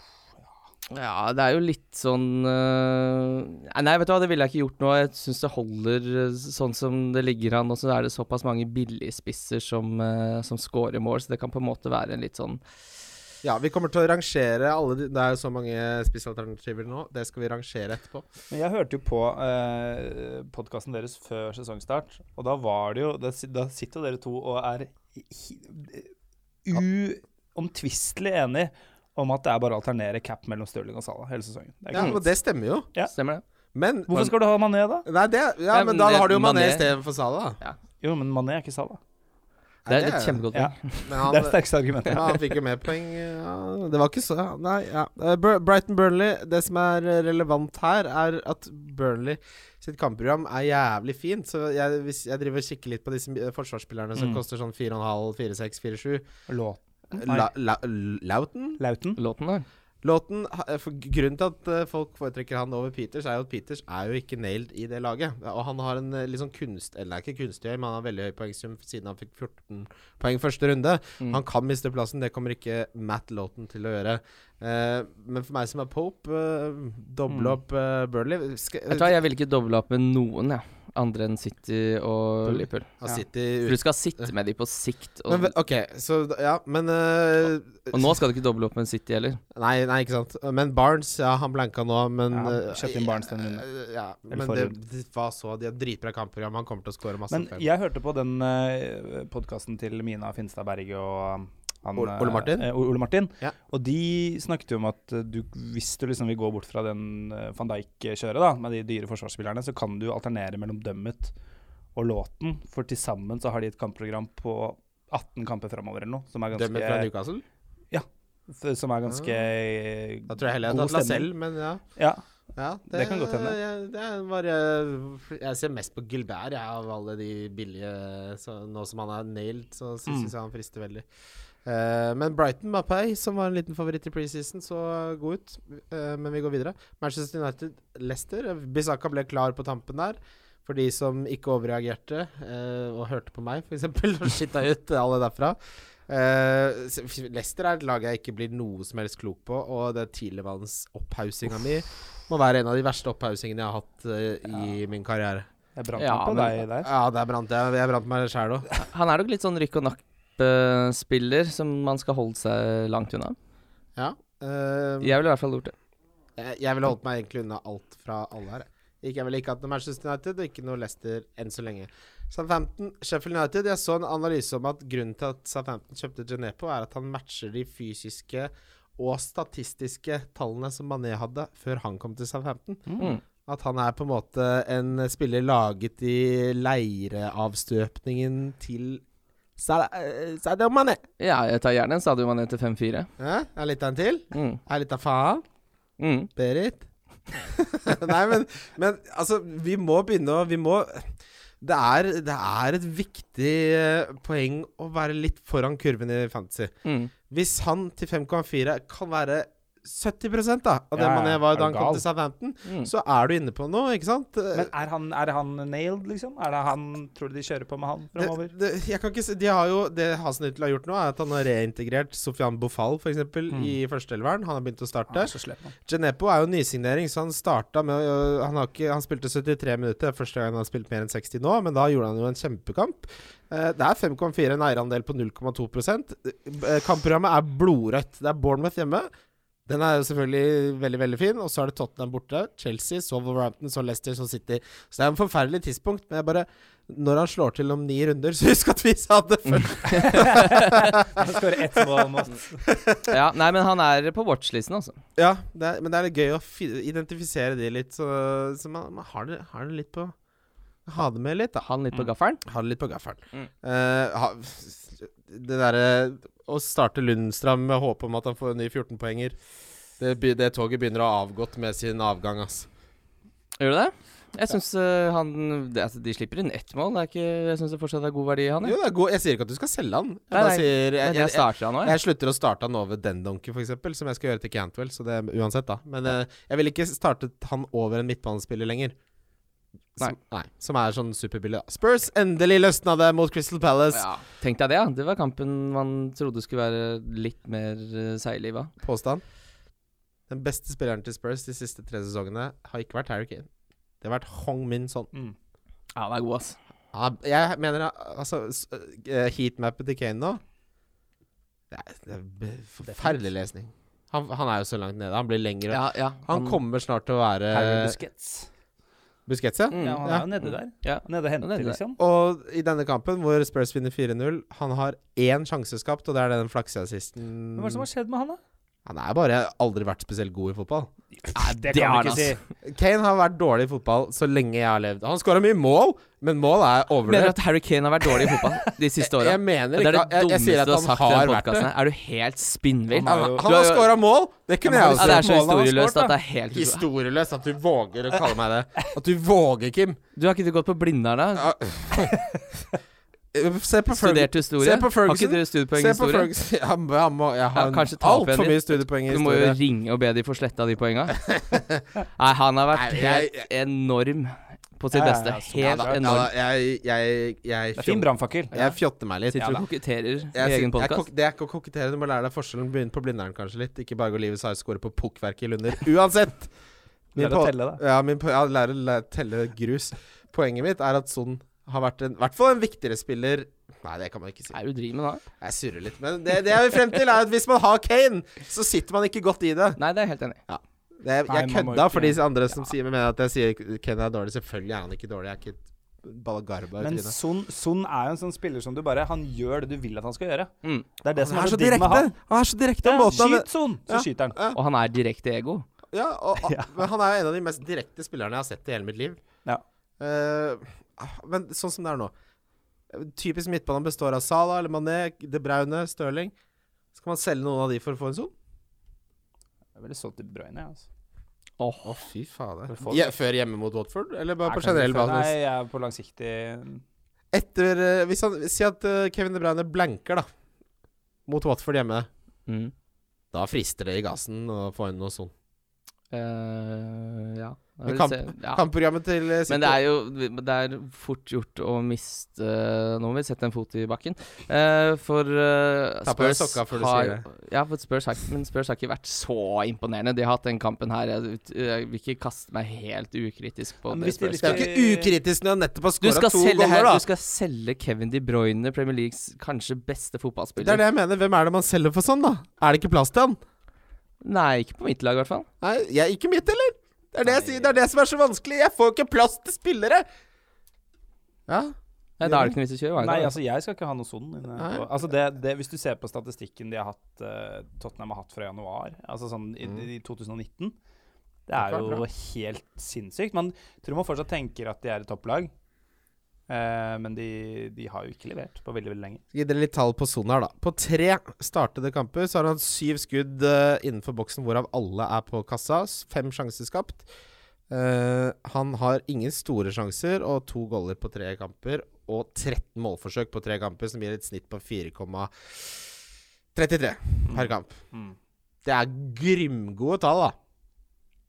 Ja, det er jo litt sånn eh, Nei, vet du hva, det ville jeg ikke gjort nå. Jeg syns det holder eh, sånn som det ligger an. Og så er det såpass mange billigspisser som, eh, som scorer mål, så det kan på en måte være en litt sånn
Ja, vi kommer til å rangere alle de, Det er jo så mange spissalternativer nå. Det skal vi rangere etterpå.
Men jeg hørte jo på eh, podkasten deres før sesongstart, og da var det jo Da, si- da sitter jo dere to og er hi- uomtvistelig enige om at det er bare å alternere cap mellom Stirling og Salah hele sesongen. Det er
Ja,
ikke noe
og
vits.
det stemmer jo.
Ja.
Stemmer det?
Men
Hvorfor skal du ha Mané, da?
Nei, det Ja,
Nei,
men
men
da
det-
har du jo Mané
Mané-
istedenfor Salah. da.
Jo, men Mané er ikke Salah.
Det er
Nei,
et kjempegodt
Ja.
poeng.
Men
Det er
han,
det sterkeste argumentet.
men han fikk jo mer poeng. Ja, det var ikke så Nei, ja. Eh, Bur- Brighton Burnley, det som er eh, relevant her, er at Burnley sitt kampprogram er jævlig fint. Så jeg, hvis jeg driver og kikker litt på disse eh, forsvarsspillerne som
Mm.
koster sånn 4,5, 4,6, 4,7
Lå-
La- La- Lauten?
Lauten.
Låten der.
Låten, ha- for Grunnen til at eh, folk foretrekker han over Peters, er jo at Peters er jo ikke nailed i det laget. Ja, Og han har en eh, litt sånn kunst... Eller ikke kunstig høy, men han har veldig høy poengsum siden han fikk 14 poeng første runde.
Mm.
Han kan miste plassen, det kommer ikke Matt Lawton til å gjøre. Eh, men for meg som er Pope, eh, doble opp eh, Burnley skal,
Mm. Vet du hva, jeg vil ikke doble opp med noen, jeg. Andre enn City og Liverpool.
av City
For du skal sitte med de på sikt,
men,
og,
ve- OK, så da- Ja, men eh,
og nå skal du ikke doble opp med City heller.
Nei, nei, ikke sant. Men Barnes, ja, han blanka nå, men
Ja,
eh,
kjøpte inn Barnes den runden.
eh, Ja,
Eller
men det,
forrige
det var så De har dritbra kampprogram, han kommer til å score masse.
Men
poeng.
jeg hørte på den uh, podkasten til Mina Finstad Berge og um, han,
Ole- Ole
eh,
Martin?
eh, Ole Martin.
Ja.
Og de snakket jo om at eh, du, hvis du liksom vil gå bort fra den eh, van Dijk-kjøret, da, med de dyre forsvarsspillerne, så kan du alternere mellom Dummet og Låten. For til sammen så har de et kampprogram på 18 kamper framover eller noe, som er
Dømmet fra
ganske,
Newcastle?
f- som er ganske eh,
Ah, Da tror jeg heller jeg hadde
god
tatt
stemning.
Lacelle, men ja.
Ja.
ja
Det kan godt hende.
Jeg, det er bare, jeg ser mest på Gilbert, jeg, av alle de billige så, Nå som han er nailed, så
Mm.
syns jeg han frister veldig. Eh, men Brighton Mapei, som var en liten favoritt i preseason, så god ut. Eh, men vi går videre. Manchester United Leicester. Bissaka ble klar på tampen der. For de som ikke overreagerte eh, og hørte på meg, f.eks., og skitta ut alle derfra. Eh, s- f- Leicester er et lag jeg ikke blir noe som helst klok på, og det tidligvannsopphausinga mi må være en av de verste opphaussingene jeg har hatt eh, i min karriere.
Jeg brant
Ja,
opp på deg
men-
der.
Ja, der brant jeg. Jeg brant meg sjæl òg.
Han er nok litt sånn rykk og napp-spiller eh, som man skal holde seg langt unna.
Ja. eh,
Jeg ville i hvert fall gjort det.
jeg, jeg ville holdt meg egentlig unna alt fra alle her. Ikke, jeg ville ikke hatt noe Manchester United og ikke noe Leicester enn så lenge. Southampton, Sheffield United. Jeg så en analyse om at grunnen til at Southampton kjøpte Genepo, er at han matcher de fysiske og statistiske tallene som Mané hadde før han kom til Southampton.
Mm.
At han er på en måte en spiller laget i leireavstøpningen til Sa- eh, Sadio Mané.
Ja, jeg tar gjerne en Sadio Mané til 5-4.
Ja, er litt av en til?
Mm.
Er litt av faen?
Mm.
Berit? Nei, men, men altså, vi må begynne å Vi må det er, det er et viktig eh, poeng å være litt foran kurven i fantasy.
Mm.
Hvis han til 5,4 kan være 70 da, av det
Ja, ja.
Mané var
Er
da han
du
kom
gal?
til Southampton,
Mm.
så er du inne på noe, ikke sant?
Men er han, er han nailed, liksom? Er det han, tror du de kjører på med han
Eh, det,
framover?
det, jeg kan ikke se, de har jo, det Hasenhüttel har gjort nå, er at han har reintegrert Sofian Bofal f.eks. eksempel i førsteelveren. Han har begynt å starte.
så slem, Mm. han.
Genepo er jo nysignering, så han starta med å- han, har ikke, han spilte 73 minutter. Det er Første gang han har spilt mer enn 60 nå, men da gjorde han jo en kjempekamp. Eh, Det er 5,4, en eierandel på 0,2 Eh, Kampprogrammet er blodrødt. Det er Bournemouth hjemme, Den er jo selvfølgelig veldig veldig fin. Og så er det Tottenham borte, Chelsea, så Wolverhampton, så Leicester, så City. Så det er en forferdelig tidspunkt. Men jeg bare Når han slår til om ni runder, så husk at vi sa det først.
Han skårer ett mål mot
Ja, nei, men han er på watchlisten, altså.
Ja, det er, men det er litt gøy å fi identifisere de litt, så, så man, man har, det, har det litt på Ha det med litt, da.
Han litt på gaffelen.
Ha det litt på gaffelen.
Mm.
Eh, ha, det derre å starte Lundstrand med håp om at han får en ny 14-poenger det, be- det toget begynner å ha avgått med sin avgang, ass.
Gjør du det? Jeg syns eh, han det, altså, De slipper inn ett mål. Det er ikke, jeg syns det fortsatt er god verdi i han.
Jo,
Jeg,
det er god. Jeg sier ikke at du skal selge han.
Nei,
Jeg bare
nei.
sier jeg,
jeg,
jeg,
jeg starter han òg, jeg.
jeg slutter å starte han over den donkey, for eksempel som jeg skal gjøre til Cantwell. Så det er uansett, da. Men eh, jeg ville ikke startet han over en midtbanespiller lenger. Som, nei. Som er sånn superbillig. da. Spurs endelig løsna det mot Crystal Palace.
Ja, Tenk deg det, ja. Det var kampen man trodde skulle være litt mer uh, seigliva.
Påstand. Den beste spilleren til Spurs de siste tre sesongene har ikke vært Harry Kane. Det har vært Hong Min Son.
Mm.
Ja, han er god, ass.
Ja, jeg mener altså s- eh, Heatmappet til Kane nå Det er, det er be- forferdelig lesning. Han, han er jo så langt nede. Han blir lengre.
Ja, ja.
han, kommer snart til å være
Harry Busquets.
Busquets, ja.
Mm,
Ja, han
ja.
er jo nede der.
ja.
Nede og
Han er
henter,
nede der.
liksom.
Og i denne kampen hvor Spurs vinner 4-0, han har én sjanse skapt, og det er den flakseassisten
Hva er det som har skjedd med han, da?
Han er bare aldri vært spesielt god i fotball.
Nei, det
det er
kan
han,
du ikke si.
Kane har vært dårlig i fotball så lenge jeg har levd. Han skåra mye mål, men mål er
Mener du
overvurdert.
at Harry Kane har vært dårlig i fotball de siste åra?
Jeg mener
Det er
ikke
det
at- jeg, jeg
dummeste
sier
du
at
har
han
sagt i
har
den
vært det.
podkasten. Er du helt spinnvill?
Han,
Han har jo-
han
Du
har
jo-
scora mål! Det kunne jeg
Ja, det er så
også.
målene han har
historieløst
skåret,
at det er helt
Historieløst at du våger å kalle meg det. At du våger, Kim.
Du har ikke du gått på Blindern, da?
Ja. Se på Ferg-
Studert historie?
Se på
Har
Ferguson.
ikke du studiepoeng i
Se på
historie?
Ferguson. Ja, men han må, jeg
Ja,
har
kanskje ta opp igjen
altfor
litt.
mye studiepoeng i
Du må jo
historie.
ringe og be de få sletta de poenga. Nei, han har vært
Nei, jeg-
helt enorm på sitt
Ja, ja,
beste.
ja,
Ja
Helt
da, ja da,
enorm.
jeg, jeg, jeg,
Det er fin
fjol-
brannfakkel.
jeg fjotter meg litt.
Sitter og
da.
koketterer
Jeg
i egen
sitter- jeg
podkast.
kok- det er ikke å kokettere, du må lære deg forskjellen. Begynne på Blindern kanskje litt. Ikke bare gå livet sær score på pukkverket i Lunder. Uansett!
Lære å telle, da.
Ja, min på, ja, lære å lære å telle grus. Poenget mitt er at Son har vært en, i hvert fall en viktigere spiller Nei, det kan man ikke si.
Hva er det du driver med da?
Jeg surrer litt. Men det, det jeg vil frem til, er at hvis man har Kane, så sitter man ikke godt i det.
Nei, det er jeg helt enig i.
det
Nei,
jeg jeg
man må
kødda
ikke-
for de andre som sier mener at jeg sier Kane er dårlig. Selvfølgelig er han ikke dårlig. Jeg er ikke et balagarba i
Men
trynet.
Son, Son er jo en sånn spiller som du bare Han gjør det du vil at han skal gjøre.
Mm.
Det er det som
Han
er
er så
så digg med
direkte!
han.
Han er så direkte om
Ja,
måten han
skyt Son, så
Ja.
skyter han.
Og han er direkte ego.
Ja, og, og, men han er jo en av de mest direkte spillerne jeg har sett i hele mitt liv.
Ja.
Eh, ah, men sånn som det er nå Typisk midtbanen består av Salah, eller Mané, De Braune, Stirling. Skal man selge noen av de for å få en son?
Jeg ville solgt til Brøyne, jeg. Altså.
Å, fy fader.
Men får-
Ja, før hjemme mot Watford, eller bare på
Nei,
generell
kanskje-
basis?
Nei, jeg er på langsiktig
Etter eh, hvis han, Si at eh, Kevin De Bruyne blanker, da. Mot Watford hjemme.
Mm.
Da frister det i gassen å få inn noe sånt.
Eh, ja.
Men kamp-
Se- ja.
Kampprogrammet til eh, City
Men det er jo det er fort gjort å miste Nå må vi sette en fot i bakken. Eh, for eh,
Ta på deg sokka før du
har,
sier
Ja, for Spurs har, men Spurs har ikke vært så imponerende. De har hatt den kampen her. Jeg, jeg vil ikke kaste meg helt ukritisk på
Ja, men
det.
hvis de-
Spurs.
hvis
Det er jo ikke ukritisk når han nettopp har
Du
skåra
skal,
to
selge
goller,
her,
da.
du skal selge Kevin De Bruyne, Premier Leagues kanskje beste
Det er
fotballspiller.
det jeg mener. Hvem er det man selger for sånn, da? Er det ikke plass til han?
Nei, ikke på mitt lag i hvert fall.
Nei, jeg, ikke mitt, eller? Det er det jeg sier. Det er det som er så vanskelig. Jeg får ikke plass til spillere. Ja.
Nei, da er det ikke noe vits i å kjøre
Nei,
Wagner.
altså, jeg skal ikke ha noe Son. inne
Nei.
på- Altså, det, det, hvis du ser på statistikken de har hatt eh, Tottenham har hatt fra januar, altså sånn i,
Mm.
i 2019 Det er
klart
jo
bra.
helt sinnssykt. Man tror man fortsatt tenker at de er et topplag, eh, men de, de har jo ikke levert på veldig, veldig lenge.
Skal gi dere litt tall på sonen her, da. På tre startede kamper så har han syv skudd eh, innenfor boksen, hvorav alle er på kassa. S- Fem sjanser skapt. Eh, han har ingen store sjanser og to goller på tre kamper. Og 13 målforsøk på tre kamper, som gir et snitt på 4,33 per kamp.
Mm.
Det er grymgode tall, da.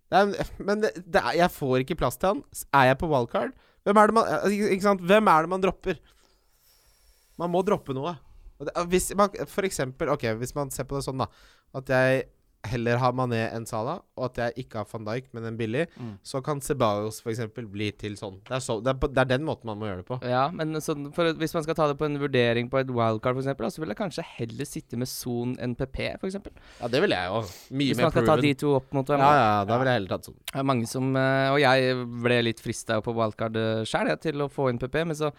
Det er, en- men det, det er, jeg får ikke plass til han. S- Er jeg på wildcard? Hvem er det man, altså, ikke ikke sant? Hvem er det man dropper? Man må droppe noe. Og det, hvis man, for eksempel, ok, hvis man ser på det sånn, da At jeg heller har Mané enn Salah, og at jeg ikke har van Dijk, men en billig,
Mm.
så kan Ceballos f.eks. bli til sånn. Det er, så, det, er på, det er den måten man må gjøre det på.
Ja, men sånn, for, hvis man skal ta det på en vurdering på et wildcard, for eksempel, da, så vil jeg kanskje heller sitte med Son enn PP, for eksempel.
Ja, det ville jeg jo. Mye
Hvis man
mer
skal ta
proven.
de to opp mot
Ja,
hverandre.
ja, da ville jeg heller tatt sånn.
Det er mange som eh, Og jeg ble litt frista på wildcard sjøl, jeg, til å få inn PP, men så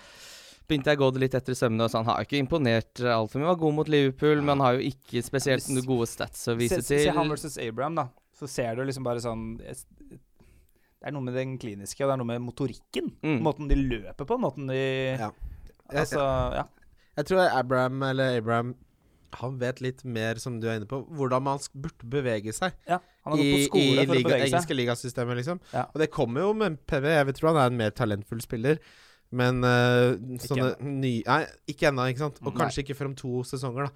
begynte jeg å gå det litt etter i sømmene, og så han har jo ikke imponert altfor mye. Han Var god mot Liverpool, men han har jo ikke spesielt noen gode stats å vise
Se, se
til.
han versus Abraham, da. Så ser du liksom bare sånn jeg- Det er noe med den kliniske, og det er noe med motorikken.
Mm.
Måten de løper på, måten de
Ja.
Altså, ja.
Jeg tror Abraham eller Abraham han vet litt mer, som du er inne på, hvordan man sk- burde bevege seg
ja. Han har
i,
gått på
i
skole for å
liga,
bevege seg.
engelske ligasystemet, liksom.
Ja.
Og det kommer jo med PV. Jeg vil tro han er en mer talentfull spiller, men eh, sånne nye Nei, ikke ennå, ikke
Mm.
sant? Og kanskje ikke før om to sesonger, da.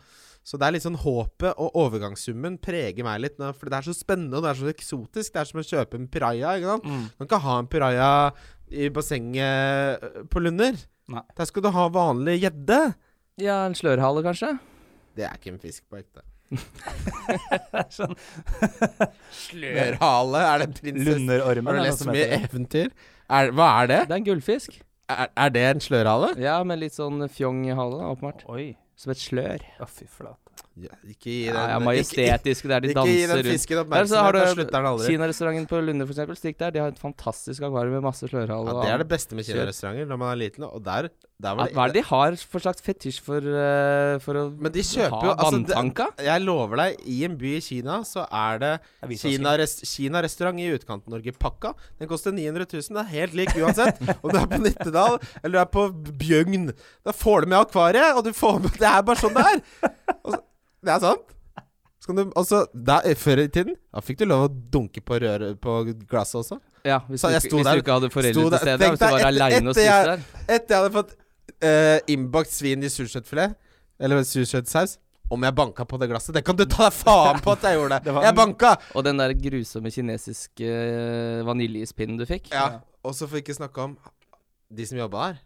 Så det er litt sånn håpet og overgangssummen preger meg litt, nå, for det er så spennende og det er så eksotisk. Det er som å kjøpe en piraja, ikke sant?
Mm.
Du kan ikke ha en piraja i bassenget eh, på Lunder.
Nei.
Der skal du ha vanlig gjedde.
Ja, en slørhale, kanskje?
Det er ikke en fisk på ekte.
Sånn
Mørhale? Er det prinsesse
Lunderormen.
Har du
er det noe
lest
som
så mye
heter det.
eventyr? Er, hva er det?
Det er en gullfisk.
Er, er det en slørhale?
Ja, med litt sånn fjong hale, da, åpenbart.
Oi.
Som et slør.
Å, fy flate.
Ja, ikke gi
Ja, ja, majestetisk, der de
ikke gi
danser
den
rundt.
fisken
Der så har
oppmerksomhet, da slutter den
du
aldri.
Kinarestauranten på Lunde, for eksempel. Stikk der. De har et fantastisk akvarium med masse slørhale.
Ja,
og
det er
annet.
det beste med kinarestauranter når man er liten, og der, der var
At, hva er det de har for slags fetisj for, eh, for å
Men de kjøper
ha
jo altså, det-
vanntanka?
Jeg lover deg, i en by i Kina så er det
Det er hvitvasking.
Kina-rest- Kina-restaurant i utkanten-Norge-pakka. Den koster 900 000. Det er helt lik uansett. Om du er på Nittedal eller du er på Bjøgn. Da får du med akvariet, og du får med Det er bare sånn det er. Og så, det er sant. Så kan du, og så, der, før i tiden da fikk du lov å dunke på røret på glasset også.
Ja, hvis,
Så
du,
jeg
ikke-
sto
hvis
der-
du ikke hadde foreldre
sto
til
der-
stede,
tenk
hvis du
deg
var
etter-
aleine og
etter jeg-
spiste der.
Etter jeg hadde fått eh, innbakt svin i surkjøttfilet, eller surkjøttsaus Om jeg banka på det glasset Det kan du ta deg faen på at jeg gjorde!
Det
det,
var en-
Jeg banka!
Og den der grusomme kinesiske eh, vaniljespinnen du fikk.
Ja, Og så får vi ikke snakke om de som jobba der.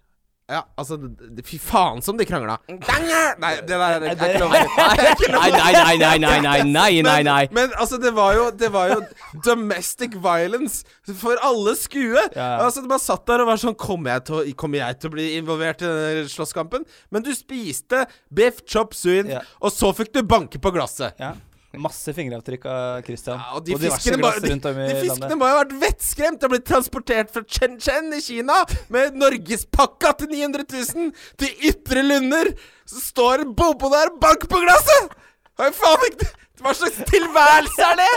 Ja, altså d- d- Fy faen som de krangla! Danger! Nei, det der er det er ikke lov. å si. Det er ikke lov å
Nei,
si.
nei, nei, nei, nei, nei, nei, nei, nei.
Men, men altså, det var jo, det var jo domestic violence for alle skue.
Ja.
Altså, Man satt der og var sånn Kommer jeg til å, kommer jeg til å bli involvert i denne slåsskampen? Men du spiste biff chop suin,
Ja.
og så fikk du banke på glasset.
Ja. Masse fingeravtrykk av Christian.
Ja, og de,
diverse
fiskene, må,
glass
de,
rundt om i
de
landet.
fiskene må jo ha vært vettskremt og blitt transportert fra Chen-Chen i Kina med norgespakka til 900 000 til ytre lunder. Så står en bobo der og banker på glasset! Hva faen ikke Hva slags tilværelse er det?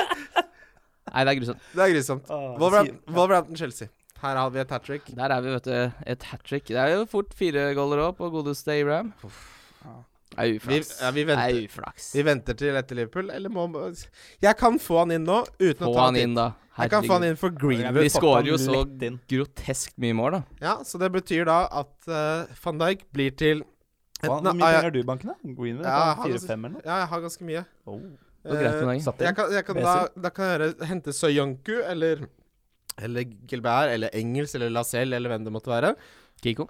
Nei, det er grusomt.
Det er grusomt.
Åh,
Wolverhampton,
sier-
Wolverhampton Chelsea. Her har vi et hat trick.
Der er vi, vet du. Et hat trick. Det er jo fort fire goller òg på godeste Abraham. Det er
Vi,
uflaks.
ja, vi,
Det er
venter,
uflaks.
vi venter til etter Liverpool, eller må Jeg kan få han inn nå, uten
Få
å ta
han inn, da.
Jeg kan få han
Herregud.
inn for
Vi
Greenwood.
skårer jo
Fått
så
han lett inn.
grotesk mye mål, da.
Ja, så det betyr da at eh, van Dijk blir til
Faen,
enten
Hvor mye penger
ja,
har du i banken, da? Greenwood?
Ja,
sånn
han-
Fire-fem eller noe?
ja, jeg har ganske mye.
Oh.
Det var greit med
Eh,
deg.
Satt
jeg
inn.
kan, jeg kan da, da kan jeg gjøre, hente Soyonku eller eller Gilbert eller Engels eller Lacelle eller hvem det måtte være. Eh,
Kiko.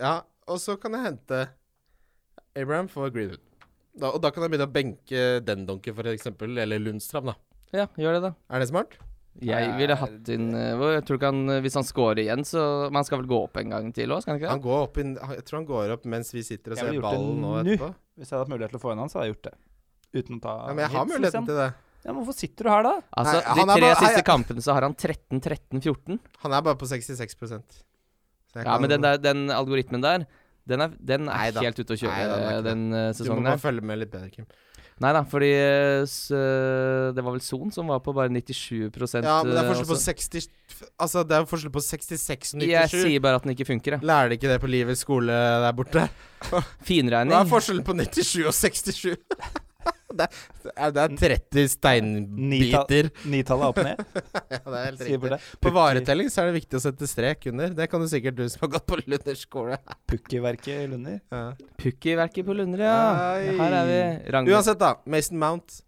ja, og så kan jeg hente Abraham for Greenwood. Da, og da kan jeg begynne å benke den donken, for eksempel, eller Lundstrand, da.
Ja, gjør det, da.
Er det smart?
Jeg ville hatt inn eh, hvor- Jeg tror ikke han eh, Hvis han scorer igjen, så Men han skal vel gå opp en gang til òg, skal han ikke det?
Han går opp inn- han- jeg tror han går opp mens vi sitter og
Jeg
ser
ville gjort det
ballen nå
nå.
etterpå.
Hvis jeg hadde hatt mulighet til å få inn han, så hadde jeg gjort det. Uten å ta
Ja, men jeg har
hits,
muligheten
liksom.
til det.
Ja, men Hvorfor sitter du her, da?
Altså,
Nei,
De
han er
tre
bare-
siste
jeg-
kampene så har han 13, 13, 14.
Han er bare på 66 Så jeg
Ja,
kan-
Men den, der, den algoritmen der, den er, den er
Nei da.
helt ute å kjøre
Nei da, den er ikke
den eh,
Du må
sesongen
bare
her.
følge med litt bedre, Kim.
Nei da, fordi eh, s, eh, det var vel Son som var på bare 97
Ja, men det er
eh,
forskjell på
også.
60 Altså, det er forskjell på 66 og 97.
Jeg sier bare at den ikke funker, jeg.
Lærer de ikke det på livets skole der borte? Hva er
Finregning.
forskjellen på 97 og 67? det, er, det er 30
Nita-
steinbiter.
Nitallet opp ned?
Ja, det er helt
Sier
riktig.
bare
På varetelling så er det viktig å sette strek under. Det kan du sikkert du som har gått på Lunder skole.
Pukkiverket i Lunder.
Ja.
Pukkiverket på Lunder, ja.
Nei.
Her er vi. Ragnhild.
Uansett, da. Mason Mount.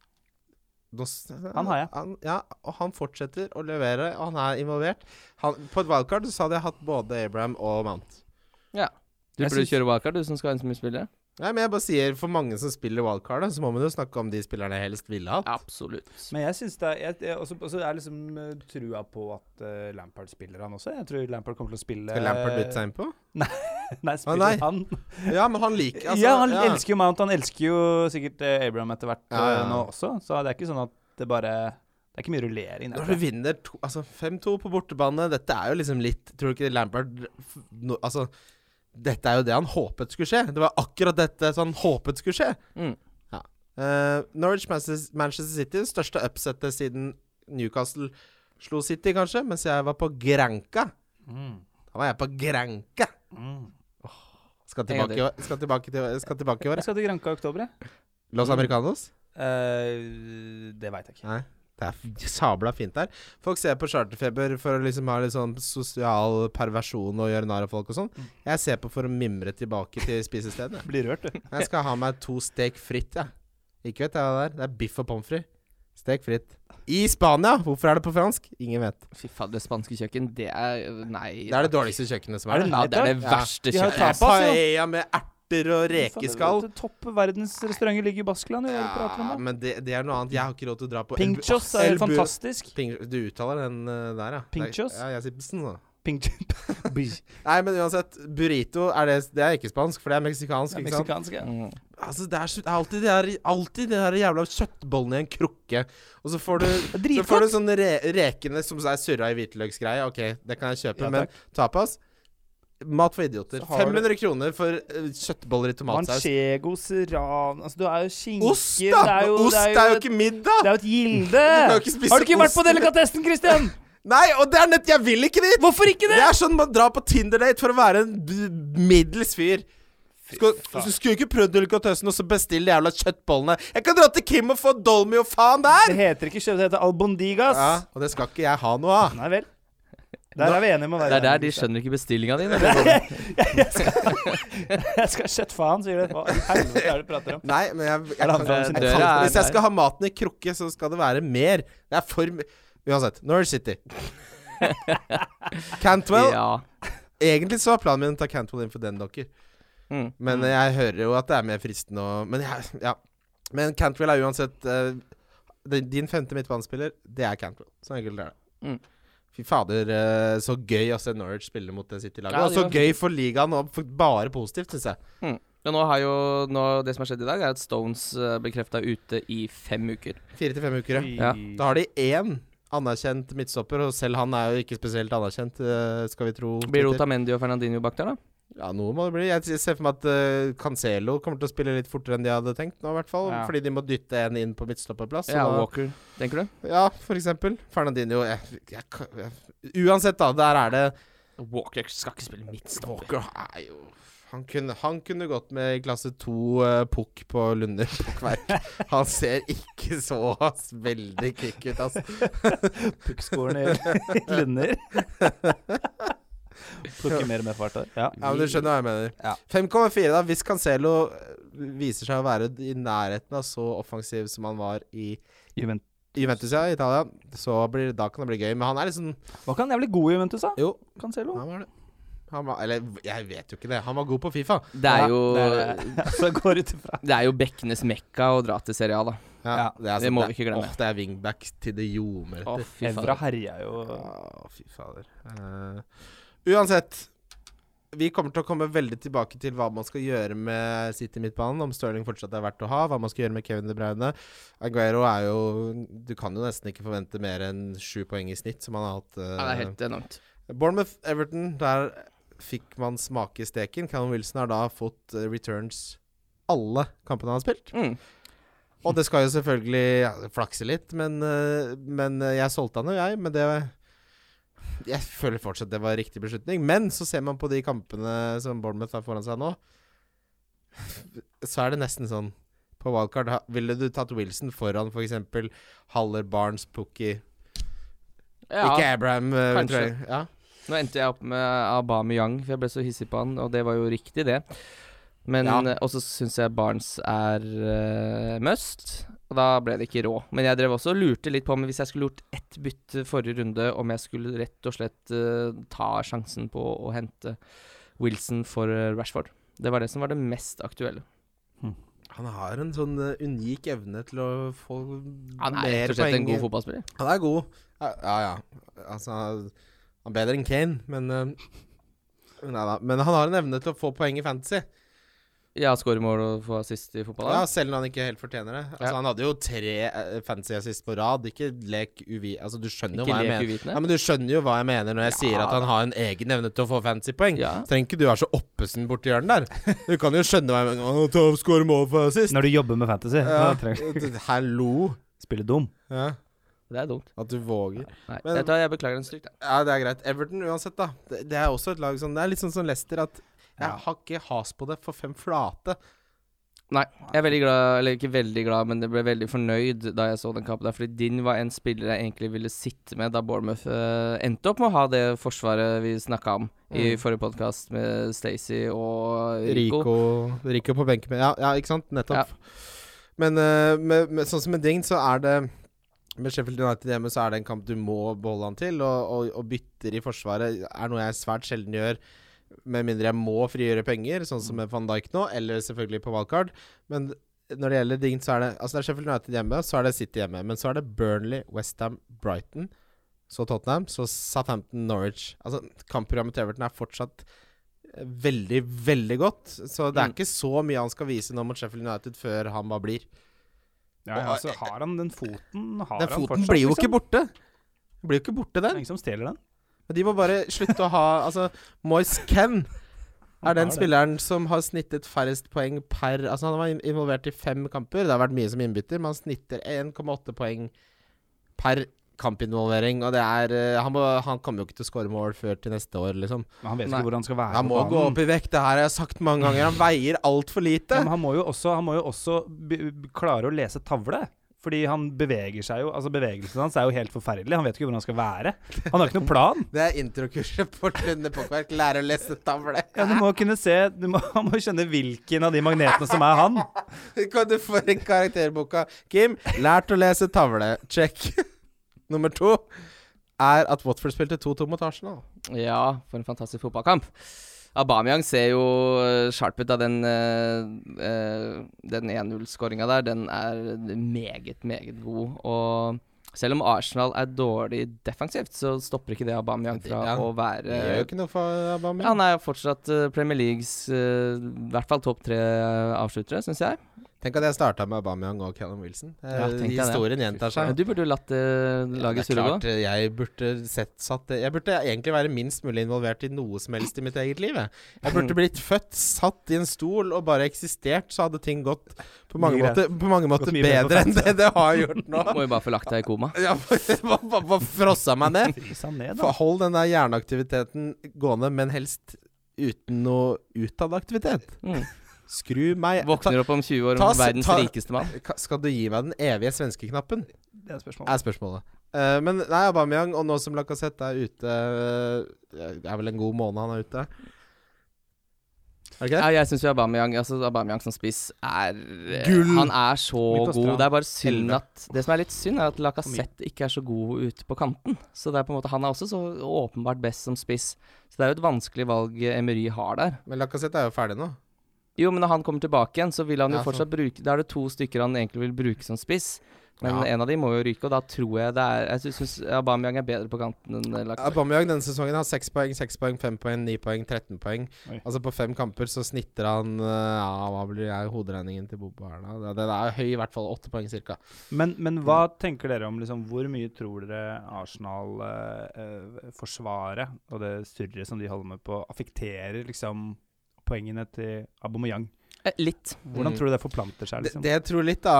Nå s-
Han har jeg.
Han, ja, og han fortsetter å levere, og han er involvert. Han, på et wildcard så hadde jeg hatt både Abraham og Mount.
Du
Jeg
burde
syns-
kjøre wildcard, du som skal ha inn så mye spillere.
Nei, men jeg bare sier, for mange som spiller wildcard, da, så må man jo snakke om de spillerne helst ville hatt.
Absolutt.
Men jeg syns det er jeg- jeg- også- også er liksom eh, trua på at eh, Lampard spiller han også. Jeg tror Lampard kommer til å spille
Skal Lampard bytte seg inn på?
Nei, spiller
nei.
han.
Ja, men han liker altså,
ja, han elsker jo Mount. Han elsker jo sikkert eh, Abraham etter hvert
Ja, ja,
eh,
ja.
nå også, så det er ikke sånn at det bare Det er ikke mye rullering.
Når
der, tror
du
jeg.
vinner to, altså 5-2 på bortebane Dette er jo liksom litt Tror du ikke Lampard f- no, Altså, dette er jo det han håpet skulle skje. Det var akkurat dette som han håpet skulle skje.
Mm.
Ja. Eh, Norwich Manchester, Manchester City, største upsettet siden Newcastle slo City, kanskje, mens jeg var på Granca.
Mm,
Da var jeg på Granca. Åh,
En gang
skal, tilbake, i år- skal, tilbake til, skal tilbake i år.
Jeg
jeg.
skal til Granca i oktober, jeg.
Los Americanos?
Eh, det veit jeg ikke.
Nei. Det er f- sabla fint der. Folk ser på charterfeber for å liksom ha litt sånn sosial perversjon og gjøre narr av folk og sånn. Jeg ser på for å mimre tilbake til spisestedet. jeg.
Blir rørt, du.
Jeg skal ha meg to stek fritt, jeg. Ikke vet jeg hva det er. Det er biff og pommes frites. Stek fritt. I Spania! Hvorfor er det på fransk? Ingen vet.
Fy faen, det spanske kjøkken, det er Nei.
Det er det dårligste kjøkkenet som er
Ja, det er det
Ja.
verste
De har
kjøkkenet.
tatt-
Det er Paella med erter og rekeskall.
Topp verdensrestauranter ligger i Baskeland. Ja,
Ja, men det, det er noe annet. Jeg har ikke råd til å dra på
Pinchos
Åh,
er
Elbu-
fantastisk.
Ping, du uttaler den eh, der, ja.
Pinchos?
Ja, jeg sier psen, da.
Pinchos
Nei, men uansett, burrito er det, det er ikke spansk, for det er meksikansk. ikke sant?
Meksikansk, ja.
Mm.
Altså, det er så- det er alltid de der, alltid de der jævla kjøttbollene i en krukke. Og så får du, så får du sånne re rekene som er surra i hvitløksgreie. Ok, det kan jeg kjøpe,
Ja,
men tapas Mat for idioter.
Så har du-
500 kroner for eh, kjøttboller i tomatsaus.
Manchegos, ran Altså, du er jo skinker
Ost,
det
da!
er jo-
Ost
det
er
er
jo
et-
ikke middag!
Det er jo et gilde!
kan jo ikke spise
Har du ikke vært
ost.
på delikatessen, Christian?
Nei, og det er nett Jeg vil ikke dit!
Hvorfor ikke
Det
det?
er sånn man drar på Tinder-date for å være en b- middels fyr. Skal, så skulle du ikke prøvd delikatessen og så bestille de jævla kjøttbollene? Jeg kan dra til Kim og få dolmi og faen
Det
der!
heter ikke kjøtt, det heter albondigas.
Ja, og det skal ikke jeg ha noe av.
Nei vel. Der er vi enige med å være
Det er der de
enige,
skjønner ikke bestillinga di. når de kommer.
Christian. Jeg skal kjøtt faen, sier du. Hva i helvete er det du prater om?
Nei, men jeg, jeg,
Er
kan,
det han
jeg,
som-
Døra
kan,
er
Hvis jeg
der.
skal ha maten i krukke, så skal det være mer. Det er for m- Uansett. Norwich City. Cantwell.
Ja.
Egentlig så var planen min å ta Cantwell inn for den dokker.
Mm.
Men jeg hører jo at det er mer fristende å Men jeg, ja. Men Cantwell er uansett eh, det- Din femte midtbanespiller, det er Cantwell. Så enkelt er det.
Mm.
Fy fader, eh, så gøy å se Norwich spille mot det City-laget.
Ja,
og
det
så
var
gøy for ligaen, og for bare positivt, syns jeg.
Ja, nå har jo, nå, det som har skjedd i dag, er at Stones eh, bekrefta ute i fem uker.
Fire til fem uker,
Ja.
ja. Da har de én anerkjent midtstopper, og selv han er jo ikke spesielt anerkjent, eh, skal vi tro.
Blir
Twitter.
Otamendi og Fernandinho bak der, da?
Ja, noe må det bli. Jeg jeg ser for meg at eh, Cancelo kommer til å spille litt fortere enn de hadde tenkt nå, i hvert fall.
Ja.
Fordi de må dytte en inn på midtstopperplass.
Ja,
og da-
Walker, tenker du?
Ja, for eksempel. Fernandinho jeg, jeg, kan- jeg, Uansett, da. Der er det
Walker skal ikke spille midtstopper.
Walker er jo han kunne, han kunne gått med i klasse to eh, pukk på Lunder pukkverk. Han ser ikke så ass, veldig kvikk ut, ass.
Pukkskolen i i Lunder. Plukker mer og mer fart der. Ja.
Ja, men Du skjønner hva jeg mener.
Ja.
5,4, da. Hvis Cancelo eh, viser seg å være i nærheten av så offensiv som han var i
Juventus.
Juventus ja, i Italia, så blir, da kan det bli gøy. Men han er liksom
Var ikke han jævlig god i Juventus, da?
Jo,
Cancelo?
han var det. Han var, eller jeg vet jo ikke det. Han var god på Fifa.
Det er jo
Ja, det er- Så jeg går ut ifra.
Det er jo bekkenes mekka å dra til Serie A, da.
Ja,
det, er altså-
det må
det-
vi ikke glemme.
Åh, det er wingback til det ljomer
Å,
etter.
fy
Evra
faen.
herja jo
Å, fy fader. Eh, uansett. Vi kommer til å komme veldig tilbake til hva man skal gjøre med City midtbanen, om Stirling fortsatt er verdt å ha, hva man skal gjøre med Kevin De Bruyne. Aguero er jo Du kan jo nesten ikke forvente mer enn sju poeng i snitt, som han har hatt. eh,
Ja, det er helt enormt.
Bournemouth-Everton, der fikk man smake steken. Callum Wilson har da fått eh, returns alle kampene han har spilt.
Mm.
Og det skal jo selvfølgelig ja, flakse litt, men, eh, men eh, jeg solgte han jo, jeg. Men det Jeg føler fortsatt det var riktig beslutning. Men så ser man på de kampene som Bournemouth har foran seg nå, så er det nesten sånn På wildcard ha- ville du tatt Wilson foran f.eks. Haller, Barnes, Pookie Ikke
Ja,
Abraham. eh,
kanskje.
tror jeg. Ja.
nå endte jeg opp med Aubameyang, for jeg ble så hissig på han, og det var jo riktig, det. Men
Ja.
eh, Og så syns jeg Barnes er eh, must, og da ble det ikke rå. Men jeg drev også og lurte litt på om hvis jeg skulle gjort ett bytte forrige runde, om jeg skulle rett og slett eh, ta sjansen på å hente Wilson for eh, Rashford. Det var det som var det mest aktuelle.
Han har en sånn eh, unik evne til å få
Han er rett og slett en god fotballspiller.
Han er god. Ja, ja. ja. Altså, han er bedre enn Kane, men eh, Nei da. Men han har en evne til å få poeng i fantasy.
Ja, skåre mål og få assist i fotball.
Ja,
da.
altså, selv når han ikke helt fortjener det. Altså,
Ja.
Han hadde jo tre eh, fantasy assist på rad. Ikke lek uvi... Altså, du skjønner jo
Ikke
hva
lek
jeg mener.
uvitende.
Ja, men du skjønner jo hva jeg mener når jeg sier at han har en egen evne til å få fantasypoeng.
Ja.
Så trenger ikke du være så oppesen borti hjørnet der. Du kan jo skjønne hva jeg mener. Å, Tov scorer mål for assist.
Når du jobber med fantasy,
Ja.
da trenger du
Hallo.
spille dum.
Ja.
Det er dumt.
At du våger.
Nei,
Men-
vet du hva, jeg beklager den stygt. jeg.
Ja, det er greit. Everton uansett, da. Det, det er også et lag som Det er litt sånn som Leicester, at jeg
Ja.
har ikke has på det for fem flate.
Nei, jeg er veldig glad, eller ikke veldig glad, men jeg ble veldig fornøyd da jeg så den kampen der, fordi din var en spiller jeg egentlig ville sitte med da Bournemouth eh, endte opp med å ha det forsvaret vi snakka om i forrige podkast med Stacey og Rico.
Mm. Rico, Rico på benken. Ja, ja, ikke sant? Nettopp.
Ja.
Men eh, med, med, sånn som med Ding, så er det Med Sheffield United hjemme så er det en kamp du må beholde han til, og, og, og bytter i forsvaret er noe jeg svært sjelden gjør. Med mindre jeg må frigjøre penger, sånn
Mm.
som med van Dijk nå, eller selvfølgelig på wildcard. Men når det gjelder Ding, så er det Altså det er Sheffield United hjemme, så er det City hjemme. Men så er det Burnley, Westham, Brighton, så Tottenham, så Southampton, Norwich. Altså Kampprogrammet til Everton er fortsatt eh, veldig, veldig godt. Så det er
Mm.
ikke så mye han skal vise nå mot Sheffield United før han bare blir.
Ja, ja, så har han den foten har
Den
han
foten
fortsatt,
blir jo
liksom.
ikke borte. Den Blir jo ikke borte,
Det er
den.
ingen som stjeler den.
Men de må bare slutte å ha Altså, Moyes Ken er den
det.
spilleren som har snittet færrest poeng per Altså, han var in- involvert i fem kamper. Det har vært mye som innbytter, men han snitter 1,8 poeng per kampinvolvering, og det er eh, Han, må, han kommer jo ikke til å skåre mål før til neste år, liksom.
Men han vet
Nei.
ikke hvor han skal være.
Han
på
må
banen.
gå opp i vekt, det her har jeg sagt mange ganger. Han veier altfor
Ja,
lite.
men han må jo også, han må jo også be- be- klare å lese tavle. Fordi han beveger seg jo Altså Bevegelsen hans er jo helt forferdelig. Han vet ikke hvor han skal være. Han har ikke noen plan.
Det er introkurset på Lunde Pokkverk. Lære å lese tavle.
Ja, du må kunne se du må, Han må skjønne hvilken av de magnetene som er han.
Kan du få en karakterboka? Kim, lært å lese tavle. Check. Nummer to er at Watford spilte 2-2 mot Arsenal.
Ja, for en fantastisk fotballkamp. Aubameyang ser jo eh, sharp ut av den, eh, eh, den 1-0-skåringa der. Den er meget, meget god. Og selv om Arsenal er dårlig defensivt, så stopper ikke det Aubameyang fra
Ja,
å
Det gjør
være
jo ikke noe for
ja,
Aubameyang.
han er fortsatt eh, Premier Leagues eh, i hvert fall topp tre eh, avsluttere, syns jeg.
Tenk at jeg starta med Aubameyang og Callum Wilson. Eh,
Ja, tenk deg det.
Historien gjentar
Men
seg.
du burde jo latt eh, laget
det er
surre gå.
klart, eh, jeg burde sett satt Jeg burde egentlig være minst mulig involvert i noe som helst i mitt eget liv. Jeg, jeg burde blitt født, satt i en stol og bare eksistert, så hadde ting gått på mange
Mye
måter, på mange måter
mye bedre
bedre enn det det har gjort nå.
Må jo bare få lagt deg i koma.
Ja, bare- bare bare frossa meg ned.
Fryse han ned,
For
da.
hold den der hjerneaktiviteten gående, men helst uten noe utad aktivitet.
Mm.
Skru meg ta,
Våkner opp om 20 år
ta-
som verdens
ta-
rikeste mann.
Ka- Skal du gi meg den evige svenskeknappen?
Det er spørsmålet.
Er spørsmålet. Eh, men nei, Aubameyang, og nå som Lacassette er ute eh, Det er vel en god måned han er ute? Er det ikke det?
Ja, jeg syns Aubameyang, altså Aubameyang som spiss er eh,
Gull!
Han er så
Midt
god.
på strand.
Det er bare synd
Elleve.
at Det som er litt synd, er at Lacassette ikke er så god ute på kanten. Så det er på en måte Han er også så åpenbart best som spiss. Så det er jo et vanskelig valg eh, Emery har der.
Men Lacassette er jo ferdig nå.
Jo, men når han kommer tilbake igjen, så vil han jo
Ja, sant.
fortsatt bruke Da er det to stykker han egentlig vil bruke som spiss. Men
Ja.
en av de må jo ryke, og da tror jeg det er Jeg syns Aubameyang er bedre på kanten enn eh, Lacassette.
Aubameyang denne sesongen har 6 poeng, 6 poeng, 5 poeng, 9 poeng, 13 poeng.
Oi.
Altså på fem kamper så snitter han eh, Ja, hva blir er hoderegningen til Bob Arna? Det, det er høy, i hvert fall 8 poeng cirka.
Men, men hva tenker dere om liksom, Hvor mye tror dere Arsenal-forsvaret og det surret som de holder med på, affekterer liksom poengene til Aubameyang?
Eh, Litt.
Hvordan
Mm.
tror du det forplanter seg?
Det,
liksom?
det jeg tror litt, da,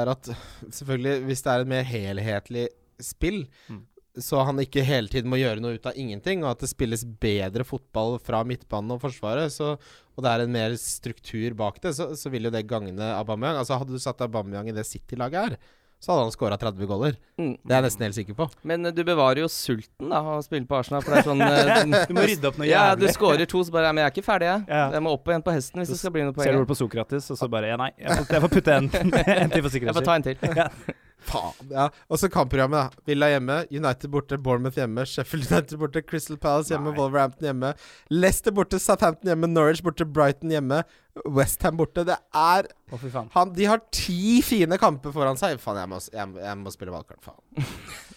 er at selvfølgelig, hvis det er et mer helhetlig spill,
Mm.
så han ikke hele tiden må gjøre noe ut av ingenting, og at det spilles bedre fotball fra midtbanen og forsvaret, så, og det er en mer struktur bak det, så, så vil jo det gagne Aubameyang. Altså, hadde du satt Aubameyang i det City-laget her, så hadde han skåra 30 goller.
Mm.
Det er jeg nesten helt sikker på.
Men eh, du bevarer jo sulten, da, av å spille på Arsenal, for det er sånn eh,
Du må rydde opp noe
Ja, du
jævlig.
skårer to, så bare ja, Men jeg er ikke ferdig, jeg.
Ja.
Jeg må opp og igjen på hesten hvis det skal bli noe
Ser du
poeng.
ord på Sokrates, og så bare ja, nei, jeg får, jeg får putte en, en til for
Jeg
sikkerhets
får
skyld.
ta en til.
Faen, ja. Og så kampprogrammet, da. Villa hjemme, United borte, Bournemouth hjemme, Sheffield United borte, Crystal Palace hjemme, Wolverhampton hjemme, Leicester borte, Southampton hjemme, Norwich borte, Brighton hjemme, Westham borte. Det er
Å, fy faen.
han, De har ti fine kamper foran seg. Faen, jeg må, jeg, må- jeg må spille valgkart, faen.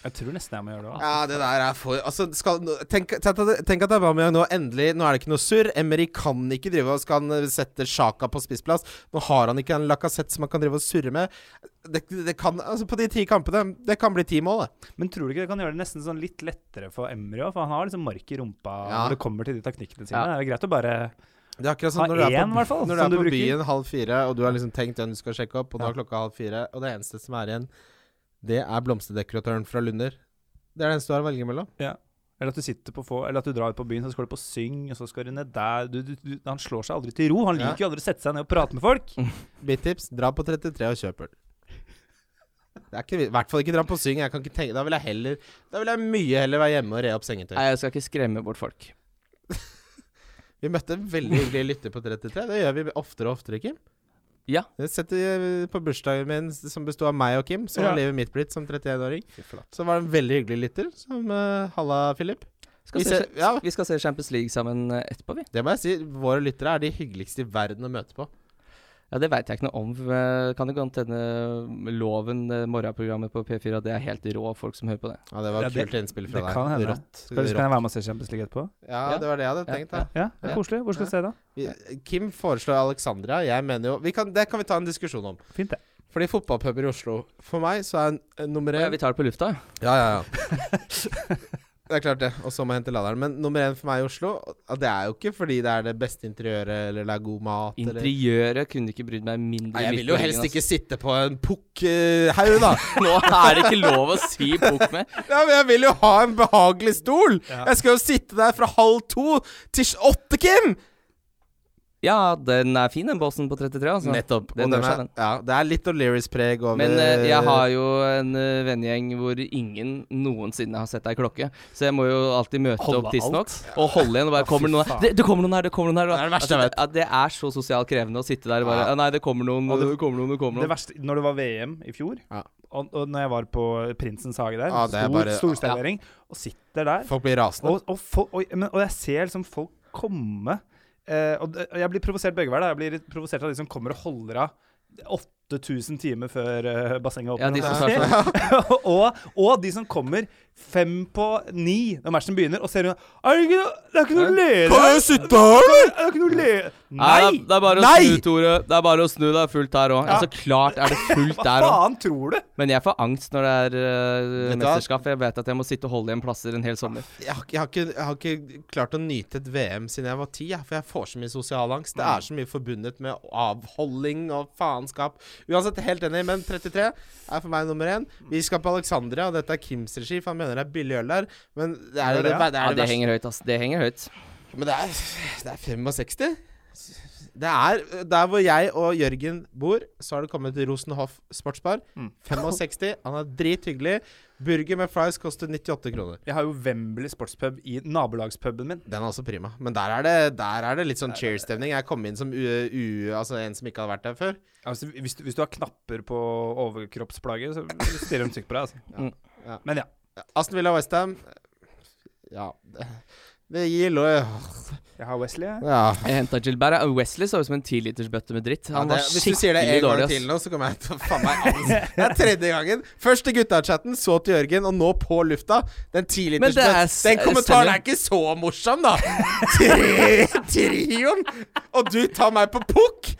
Jeg tror nesten jeg må gjøre det òg.
Ja, det der er for Altså, skal, tenk, tenk, at- tenk at Aubameyang nå endelig Nå er det ikke noe surr. Emery kan ikke drive og skal han sette Sjaka på spissplass. Nå har han ikke en Lacassette som han kan drive og surre med. Det, det kan, altså På de ti kampene Det kan bli ti mål, det.
Men tror du ikke det kan gjøre det nesten sånn litt lettere for Emry òg? For han har liksom mark i rumpa
Ja.
når det kommer til de taktikkene sine.
Ja.
Det er jo greit å bare
Det er akkurat
ha
sånn når du er
én, i
på,
hvert fall,
når du
som
er
du
på
bruker.
byen halv fire, og du har liksom tenkt hvem du skal sjekke opp, og nå er klokka halv fire, og det eneste som er igjen, det er blomsterdekoratøren fra Lunder. Det er det eneste du har å velge mellom.
Eller at du sitter på få, eller at du drar ut på byen, så skal du på syng, og så skal du ned der. Du, du, du, han slår seg aldri til ro. Han
Ja.
liker jo aldri å sette seg ned og prate med folk.
Bittips, dra på 33 og kjøp øl. Det er ikke, I hvert fall ikke dra på syng. Jeg kan ikke tenke, da vil jeg heller Da vil jeg mye heller være hjemme og re opp sengetøy.
Nei, jeg skal ikke skremme bort folk.
Vi møtte en veldig hyggelig lytter på 33. Det gjør vi oftere og oftere, Kim.
Ja.
Jeg setter eh, på bursdagen min, som bestod av meg og Kim, som
Ja.
har livet mitt blitt som 31-åring, så var det en veldig hyggelig lytter, som eh, Halla, Philip.
Skal
Vi
se,
ser- ja.
Vi skal se Champions League sammen eh, etterpå, vi.
Det må jeg si. Våre lyttere er de hyggeligste i verden å møte på.
Ja, Det veit jeg ikke noe om. eh, Kan det gå an til denne Loven, eh, morgenprogrammet på P4, at det er helt rå folk som hører på det?
Ja, Det var
Ja, det-
kult innspill fra
det
deg.
kan hende.
Rått.
Skal, skal
Rått.
jeg være med og se Champions League etterpå?
Ja,
Ja.
det var det jeg hadde
Ja,
tenkt. da.
Ja, det
Ja.
er koselig. Hvor skal jeg se da?
Vi, Kim foreslår Alexandria. Jeg mener jo vi kan, Det kan vi ta en diskusjon om.
Fint, det.
Fordi fotballpuber i Oslo For meg så er en, en nummer
Ja,
én
vi tar det på lufta.
Ja, ja, ja. det er klart, det. Og så må jeg hente laderen. Men nummer én for meg i Oslo og Det er jo ikke fordi det er det beste interiøret eller det er god mat. Eller
Interiøret kunne ikke brydd meg mindre.
Nei,
i altså.
jeg
midt
vil jo
på
helst
ryggen,
ikke sitte på en pukkhaug, da.
ass. Nå er det ikke lov å si bok med.
Ja, men jeg vil jo ha en behagelig stol! Jeg skal jo sitte der fra halv to til s- åtte, Kim!
Ja, den er fin, den bossen på 33, altså.
Nettopp.
Den
og den
gjør seg,
er,
den.
ja, det er litt O'Learys-preg over
Men eh, jeg har jo en eh, vennegjeng hvor ingen noensinne har sett ei klokke. Så jeg må jo alltid møte
Holde
opp tidsnok og holde igjen. Og bare kommer noen her det, det kommer noen her, det kommer noen her. Altså,
Det er det verste jeg vet.
ja, det er så sosialt krevende å sitte der og bare
Ja.
«Ah, Nei, det kommer noen,
Og
det,
det-
kommer noen, det kommer
Det
noen.
verste, når det var VM i fjor,
Ja.
og, og når jeg var på Prinsens hage der,
Ja, det er
stor,
bare-
storservering, og sitter der
Folk blir rasende.
Og, og, fol- og, men, og jeg ser liksom folk komme eh, og, det- og jeg blir provosert begge veier. da. Jeg blir provosert av de som kommer og holder av 8000 timer før eh, bassenget
Ja, de
åpner.
som
om
snart
kvarter. og, og de som kommer fem på ni når matchen begynner, og ser hun Er det ikke noe, det er ikke noe leder her?
jeg sitte her, eller?
Er det ikke noe leder
Nei!
Nei!
det er bare å
Nei!
snu, Tore. Det er bare å snu. Det er fullt der òg. Ja. så klart er det fullt
Hva
der òg.
faen tror du?
Men jeg får angst når det er eh,
Vet du hva?
mesterskap. Jeg vet at jeg må sitte og holde igjen plasser en hel sommer.
jeg, har, ikke- jeg, har ikke, jeg har ikke klart å nyte et VM siden jeg var ti, jeg, for jeg får så mye sosial angst.
Mm.
Det er så mye forbundet med avholding og faenskap. Uansett, helt enig, men 33 er for meg nummer én. Vi skal på Alexandria, og dette er Kims regi, for han mener det er billig øl der. Men det er jo det, det, er det,
Ja, det
verste.
henger høyt, ass. Det henger høyt.
Men det er, det er 65. Det er der hvor jeg og Jørgen bor, så har det kommet til Rosenhoff sportsbar.
Mm.
65. Han er drithyggelig. Burger med fries koster 98 kroner.
Jeg har jo Wembley sportspub i nabolagspuben min.
Den er også prima. Men der er det, der er det litt sånn cheer-stemning. Jeg kom inn som u, u, altså en som ikke hadde vært der før.
Altså, hvis, du, hvis du har knapper på overkroppsplagget, så stirrer de stygt på deg. Altså.
Mm.
Ja.
Men ja.
Aston Villa Westham Ja det- Det gir lov
Jeg har Wesley. jeg.
ja.
Jeg henta Gilbert. Ja, Wesley så ut som en tilitersbøtte med dritt. Han
Ja, det-
var
Hvis du sier det
skikkelig
en
dårlig.
gang
ass.
til nå, så kommer jeg til å faen meg ans. Det er tredje gangen. Først til gutta-chatten, så til Jørgen, og nå på lufta.
Men
Den
det er
tilitersbøtten
s-
Den kommentaren
stemmer.
er ikke så morsom, da! Tre, trioen! Og du tar meg på pukk!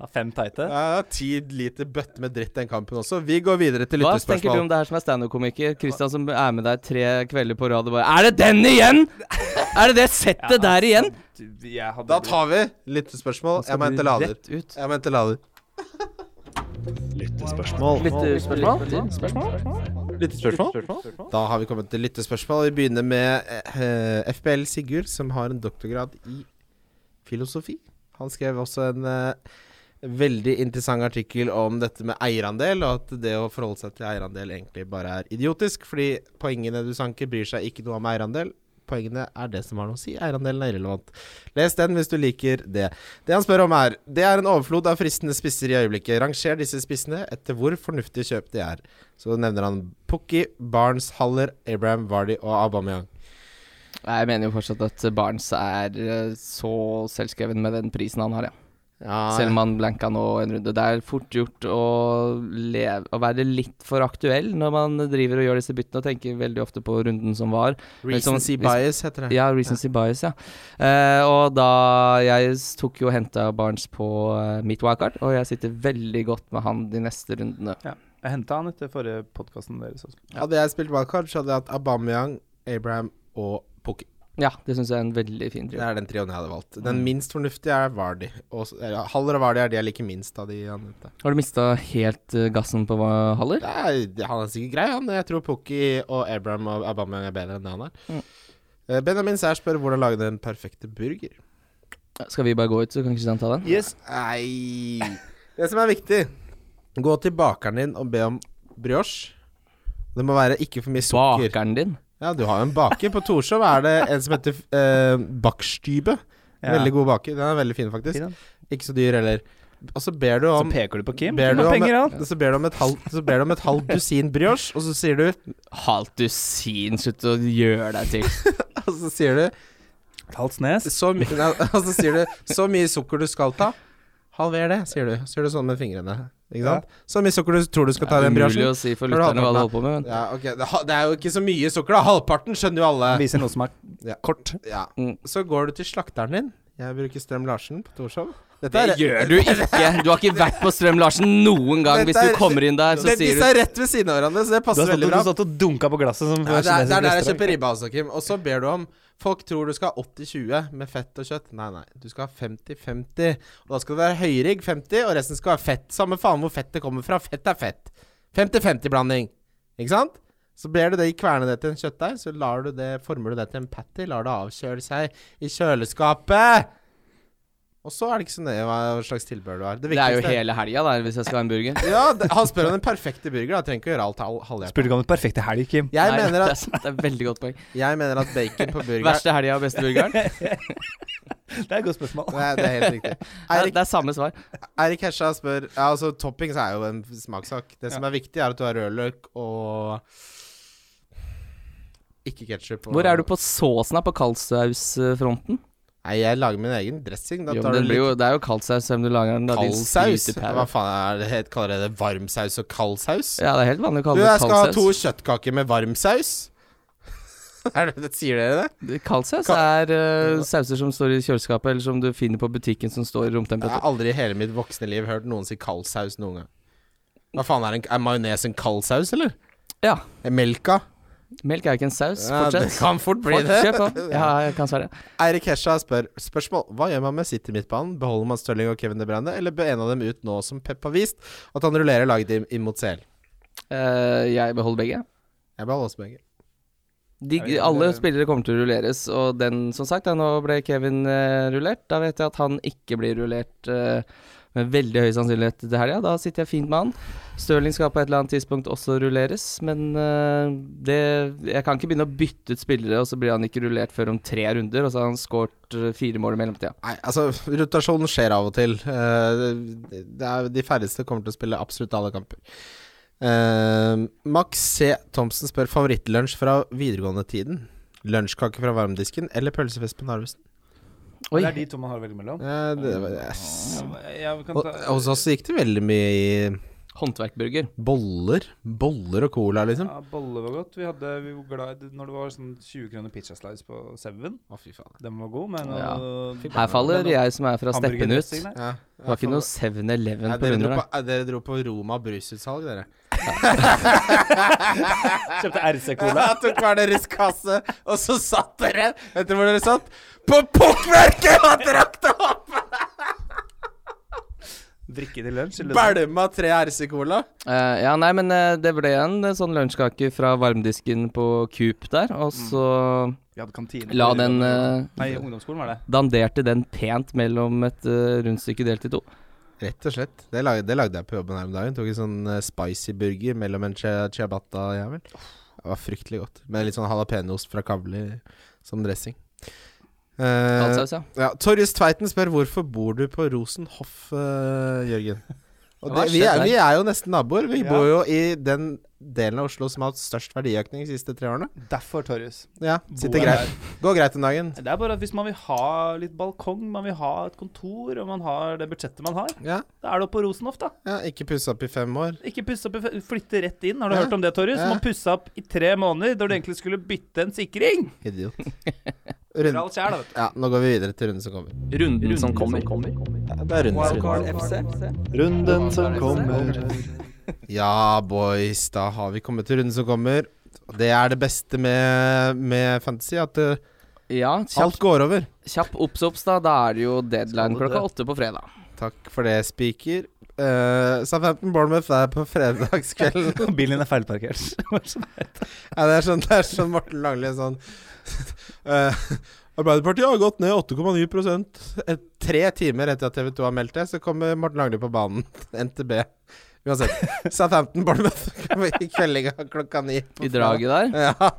Ja, fem teite.
Ja, Ti liter bøtte med dritt den kampen også. Vi går videre til
Hva tenker du
lyttespørsmål.
om det her som er standup-komiker? Christian som er med deg tre kvelder på rad og bare Er det den igjen?! Er det det settet der igjen?!
Du, Jeg hadde
Da tar vi lyttespørsmål. altså, Jeg må hente lader.
Rett ut.
Jeg må hente lader.
eh, Lyttespørsmål?
Da har vi kommet til lyttespørsmål. Vi begynner med eh, FBL Sigurd, som har en doktorgrad i filosofi. Han skrev også en eh, veldig interessant artikkel om dette med eierandel, og at det å forholde seg til eierandel egentlig bare er idiotisk, fordi poengene du sanker, bryr seg ikke noe om eierandel. Poengene er det som har noe å si. Eierandelen er irrelevant. Les den hvis du liker det. Det han spør om er Det er en overflod av fristende spisser i øyeblikket. Ranger disse spissene etter hvor fornuftige kjøp de er. Så nevner han Pukki, Barnes, Haller, Abraham, Vardy og Aubameyang.
Nei, Jeg mener jo fortsatt at Barnes er eh, så selvskreven med den prisen han har, ja.
Ja,
Selv om han blanka nå en runde. Det er fort gjort å, leve, å være litt for aktuell når man driver og gjør disse byttene og tenker veldig ofte på runden som var.
Recency
Liksom-
bias heter det.
Ja, recency bias, ja. Eh, og da Jeg s- tok jo og henta Barnes på eh, mitt wildcard, og jeg sitter veldig godt med han de neste rundene.
Jeg henta han etter forrige podkasten deres. altså. Også.
Hadde jeg spilt wildcard, så hadde jeg hatt Aubameyang, Abraham og Pukki.
Ja, det syns jeg er en veldig fin
Det
driv.
er den trioen jeg hadde valgt. Den minst fornuftige er Vardy. Og, så- eller, Haller og Vardy er de jeg liker minst av de han nevnte.
Har du mista helt eh, gassen på hva, Haller?
Nei, det- han er sikkert grei, han. Jeg tror Pukki og Abraham og Aubameyang er bedre enn det han er. Eh, Benjamin Sær spør hvordan lage den perfekte burger.
Skal vi bare gå ut, så kan Kristian ta den?
Yes.
Nei Det som er viktig Gå til bakeren din og be om brioche. Det må være ikke for mye sukker.
Bakeren din?
Ja, du har jo en baker. På Torshov er det en som heter eh, Bakstübe. Veldig god baker. Den er veldig fin, faktisk.
Fin,
Ikke så dyr heller. Og så ber du om
Så peker du på Kim.
ber
Kim
du
har
om,
penger, han.
så ber du om et halvt Så ber du om et halvt dusin brioche, og så sier du
Halvt dusin, slutt å gjøre deg til.
Og så sier du
Et halvt snes.
så, my, nei, og så sier du så mye sukker du skal ta. Halver det, sier du. Så gjør du sånn med fingrene. Ikke sant? Så mye sukker du tror du skal ta i den
Umulig
briochen.
å si for
Har du
lytterne hva du
halvparten,
holder på med. men-
Ja, ok. Det ha- det er jo ikke så mye sukker, da. Halvparten skjønner jo alle.
Viser noe som er
Ja.
kort.
Ja.
Mm.
Så går du til slakteren din. Jeg bruker Strøm Larsen på Torshov. Dette
Det gjør du ikke! Du har ikke vært på Strøm-Larsen noen gang. Hvis
Dette er-
du kommer inn der, så
Men
sier
Disse
du sånn
er rett ved siden av hverandre, så det
Du
passer
har
veldig
satt, du
liksom
bra.
satt og dunka på glasset som
Ja, det, er, det er der jeg
restaurant.
kjøper ribba også, Kim. Og så ber du om Folk tror du skal ha 80-20 med fett og kjøtt. Nei, nei. Du skal ha 50-50. Og da skal det være høyrygg 50, og resten skal være fett. Samme faen hvor fett det kommer fra. Fett er fett. 50-50-blanding. Ikke sant? Så ber du det i kverne det til en kjøttdeig, så lar du det, former du det til en patty. Lar det avkjøle seg i kjøleskapet. Og så er det ikke så nøye hva slags tilbehør du har.
Det er jo
viktigste-
hele helga der, hvis jeg skal ha en burger.
Ja, det- han spør om den perfekte burger. Da trenger ikke å gjøre alt hal- halvhjertet.
Spurte ikke om den perfekte helg, Kim.
Jeg,
Nei,
mener
det, er,
at,
sant, det er veldig godt poeng.
jeg mener at bacon på burger
Verste helga og beste burgeren?
Det er et godt spørsmål.
Nei, det er helt riktig.
Nei,
Eirik-
Det er samme svar.
Eirik Hesja spør ja, altså Toppings er jo en smakssak. Det som er viktig, er at du har rødløk og ikke ketsjup.
Hvor er du på såsen her, på kaldsausfronten?
Nei, jeg lager min egen dressing. Da
Jo, men
tar
det,
du
blir
litt
jo, det er jo kaldsaus selv om du lager den. da, din
kaldsaus.
skrytepære.
Hva faen er det het? Kaller jeg det varmsaus og kaldsaus?
Ja, det er helt vanlig å
Du,
kalle
jeg
det
skal ha to
kaldsaus.
kjøttkaker med varmsaus. er det, sier dere det?
Kaldsaus er eh, sauser som står i kjøleskapet, eller som du finner på butikken som står i
Jeg
romtemperatur.
har aldri i hele mitt voksne liv hørt noen si kaldsaus noen gang. Hva faen er, en, er majones en kaldsaus, eller?
Ja.
Melka?
Melk er jo ikke en saus.
Ja, det
Fortsett.
kan fort bli det.
Fortsett på. Ja, jeg kan svare.
Eirik Hesja spør spørsmål. Hva gjør man med City midtbanen? Beholder man Stirling og Kevin De Bruyne, eller bør en av dem ut nå som Pep har vist at han rullerer laget inn- inn mot CL?
Eh, jeg beholder begge.
Jeg beholder også begge.
De, alle spillere kommer til å rulleres, og den, som sagt, da, nå ble Kevin eh, rullert. Da vet jeg at han ikke blir rullert eh, med veldig høy sannsynlighet til helga. Da sitter jeg fint med han. Stirling skal på et eller annet tidspunkt også rulleres, men eh, det Jeg kan ikke begynne å bytte ut spillere, og så blir han ikke rullert før om tre runder, og så har han skåret eh, fire mål i mellomtida.
Nei, altså, rotasjonen skjer av og til. Eh, det- det er, de færreste kommer til å spille absolutt alle kamper. Eh, Max C. Thomsen spør favorittlunsj fra videregående-tiden. Lunsjkake fra varmdisken eller pølsefest på Narvesen?
Oi,
Det er de to man har å velge mellom.
Eh, det var, yes.
Jeg kan
og,
ta-
og så gikk det veldig mye i
håndverkburger.
boller. Boller og cola, liksom.
Ja, bolle var godt. Vi, hadde, vi var glad i det når det var sånn 20 kroner pizza slice på Seven.
Å, fy faen.
Den var god, men
Ja.
øh,
Her faller jeg som er fra steppen ut.
hamburgerdressing, nei.
Ja,
Det var ikke noe 7-Eleven
Nei,
på
dere, dro
runder.
på, eh, dere dro på Roma brusutsalg, dere.
Kjøpte RC-cola.
Jeg tok hver deres kasse, og så satt dere Vet dere hvor dere satt? På pukkverket og drakk det opp!
Drikke til lunsj. eller-
Bælma tre RC-cola.
Eh, ja, nei, men eh, det ble en eh, sånn lunsjkake fra varmdisken på Coop der, og så
Vi hadde kantine. på
la den
videregående.
eh,
Nei, i ungdomsskolen var det.
Danderte den pent mellom et eh, rundstykke delt i to.
Rett og slett. Det lagde, det lagde jeg på jobben her om dagen. Tok en sånn eh, spicy burger mellom en chia- ciabatta og jævel. Det var fryktelig godt. Med litt sånn jalapeñoost fra Kavli. som dressing. Eh,
Saltsaus, ja.
ja, Torjus Tveiten spør hvorfor bor du på Rosenhoff, eh, Jørgen? Og
Hva
det,
har
vi,
skjedd
er,
der?
vi er jo nesten naboer. Vi
Ja.
bor jo i den delen av Oslo som har hatt størst verdiøkning de siste tre årene.
Derfor, Torjus.
Ja, sitter
Bor
greit. Går greit om dagen.
Det er bare at hvis man vil ha litt balkong, man vil ha et kontor, og man har det budsjettet man har,
Ja,
da er det oppe på Rosenhoff, da.
ja Ikke pussa opp i fem år.
Ikke pusse opp, i- flytte rett inn. Har du
Ja.
hørt om det, Torjus?
Ja.
Man pussa opp i tre måneder da du egentlig skulle bytte en sikring.
Idiot.
Det er
Runde.
alt skjer, da, vet du.
Ja, nå går vi videre til runden som kommer.
Runden som kommer.
Det er runden som kommer.
Wildcard FC.
Runden som kommer.
Ja, boys, da har vi kommet til runden som kommer. Og Det er det beste med, med fantasy, at det,
Ja,
alt
kjapp,
går over.
kjapp oppsops, da. Da er det jo deadline
Skal det?
klokka åtte på fredag.
Takk for det, speaker. Uh, Southampton Bournemouth er på fredagskvelden.
Bilen din er feilparkert. sånn.
ja, det er sånn, det er sånn Morten Langli sånn eh, Arbeiderpartiet har gått ned 8,9 Et- Tre timer etter at TV 2 har meldt det, så kommer Morten Langli på banen. NTB. Uansett. Southampton Bournemouth i kveldinga klokka ni. på
I draget der.
Ja.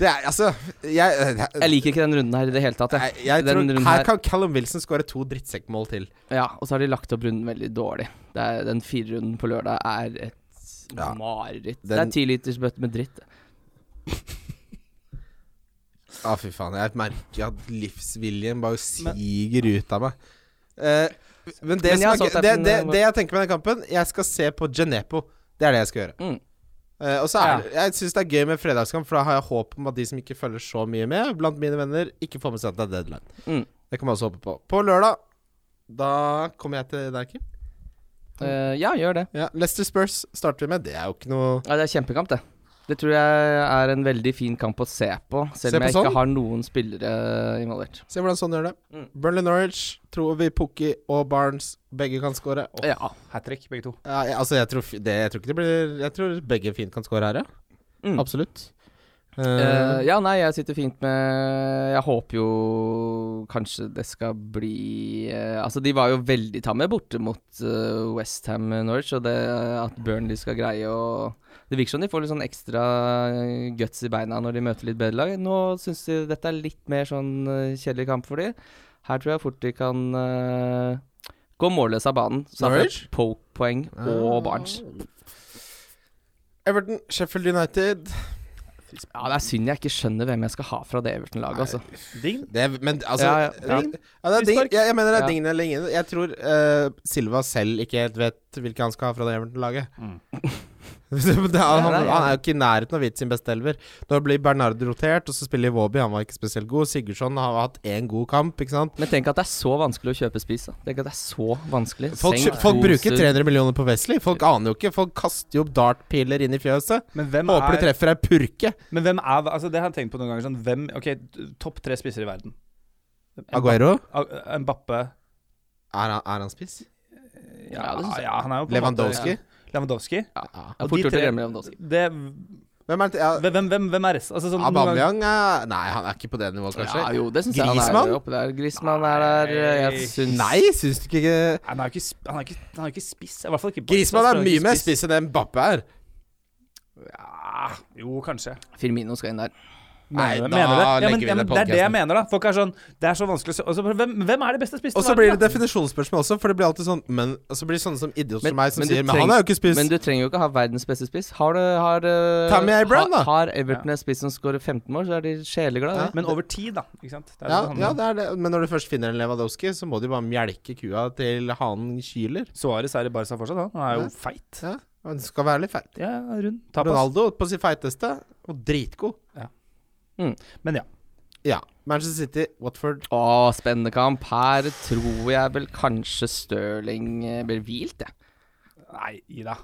Det er altså Jeg,
Jeg liker ikke den runden her i det hele tatt.
jeg,
Jeg.
jeg
den
tror
runden
Her
her-
kan Callum Wilson skåre to drittsekkmål til.
Ja, og så har de lagt opp runden veldig dårlig. Det er, den firerunden på lørdag er et
Ja.
mareritt. Det
Den-
er tilitersbøtte med dritt.
Å, fy faen. Jeg merker at livsviljen bare siger ut av meg. Eh, men det,
Men jeg
som
har
er, gøy-
sagt
det,
at den,
det,
eh,
det jeg tenker med den kampen Jeg skal se på Genepo. Det er det jeg skal gjøre.
Mm.
Eh, og så er det, Jeg syns det er gøy med fredagskamp, for da har jeg håp om at de som ikke følger så mye med, blant mine venner, ikke får med seg at det er deadline.
Mm.
Det kan man også håpe på. På lørdag, da kommer jeg til deg, Kim.
Eh, ja, gjør det.
Ja, Leicester Spurs starter vi med. Det er jo ikke noe
Ja, det er kjempekamp, det. Det tror jeg er en veldig fin kamp å se på, selv
Se
om
på
jeg ikke
sånn?
har noen spillere involvert.
Se hvordan sånn gjør det.
Mm.
Burnley Norwich tror vi Pukki og Barnes begge kan score.
Ja.
Hat trick, begge to.
Ja, jeg, altså, jeg tror, f- det, jeg tror ikke det blir Jeg tror begge fint kan score her, ja.
Mm.
Absolutt. Eh,
Eh, ja, nei, jeg sitter fint med Jeg håper jo kanskje det skal bli eh, Altså, de var jo veldig tamme borte mot uh, Westham Norwich, og det at Burnley skal greie å Det virker som de får litt sånn ekstra eh, guts i beina når de møter litt bedre lag. Nå syns de dette er litt mer sånn eh, kjedelig kamp for de. Her tror jeg fort de kan eh, gå målløs av banen. Så da får jeg
Norwich?
Poke-poeng og Barnes.
Everton, Sheffield United
Ja, det er synd jeg ikke skjønner hvem jeg skal ha fra det Everton-laget, altså.
Ding.
det, er- Men altså
Ja, ja.
Ja, det er ding.
Frispark.
Jeg, jeg mener det er
Ja.
ding eller ingen. Jeg tror eh, Silva selv ikke helt vet hvilke han skal ha fra det Everton-laget.
Mm.
Det er- han,
Nei,
han
nei,
er jo ikke i nærheten av å vite sin beste elver. Da blir Bernard rotert, og så spiller Iwobi. Han var ikke spesielt god. Sigurdsson har hatt én god kamp, ikke sant.
Men tenk at det er så vanskelig å kjøpe spis. da Tenk at det er så vanskelig.
Folk,
Senk
kjø- folk
to
bruker
sur-
300 millioner på Wesley. Folk aner jo ikke. Folk kaster jo opp dartpiler inn i fjøset.
Men hvem
Håper de
er,
treffer ei purke.
men hvem er altså Det har jeg tenkt på noen ganger. Sånn, hvem, ok, t- Topp tre spisser i verden.
Aguero.
A- Mbappe
Er han, er han spiss?
Ja, det synes jeg.
ja, han er jo på en måte-
Lewandowski?
Lewandowski.
Ja. Jeg
Og
fort
de
gjort å
tre-
glemme Lewandowski.
Det,
Hvem er det? Ja,
hvem, hvem, hvem er resten? Altså, sånn, noen ganger-
Aubameyang er Nei, han er ikke på det nivået, kanskje.
Ja, jo, det syns jeg han
Griezmann?
er oppe der. Grismann er der. Jeg syns
Nei, syns du ikke
Nei, Han er jo ikke, sp- han er ikke, han er ikke spiss. I hvert fall ikke
Grismann er mye mer
spiss.
spiss enn det Mbappe er.
Ja, Ah, jo, kanskje.
Firmino skal inn der.
Nei,
Mener du-
da
mener du det?
legger
ja, men,
vi
ja,
ned
men Det er det jeg
podcasten.
mener, da. Folk er sånn Det er så vanskelig å se altså, hvem, hvem er det beste spissen?
Og så blir det definisjonsspørsmål også, for det blir alltid sånn Men og så blir det sånne som idioter som meg, som sier Men han er jo ikke spiss.
Men du trenger jo ikke ha verdens beste spiss. Har du har, eh,
Tammy Abraham, da.
Har Everton en spiss som scorer 15 mål, så er de sjeleglade.
Ja.
det.
Men over tid, da. Ikke sant? Det er
Ja,
det det
ja,
handler om.
det er det. Men når du først finner en Lewandowski, så må du jo bare mjelke kua til hanen kyler.
Suárez er i Barca fortsatt, han. Han er jo feit.
Ja, han skal være litt feit.
Ja, rund. Tapas.
Ronaldo på sitt feiteste, og dritgod.
Men ja.
Ja. Manchester City, Watford
Å, spennende kamp. Her tror jeg vel kanskje Stirling eh, blir hvilt, jeg.
Nei, gi deg.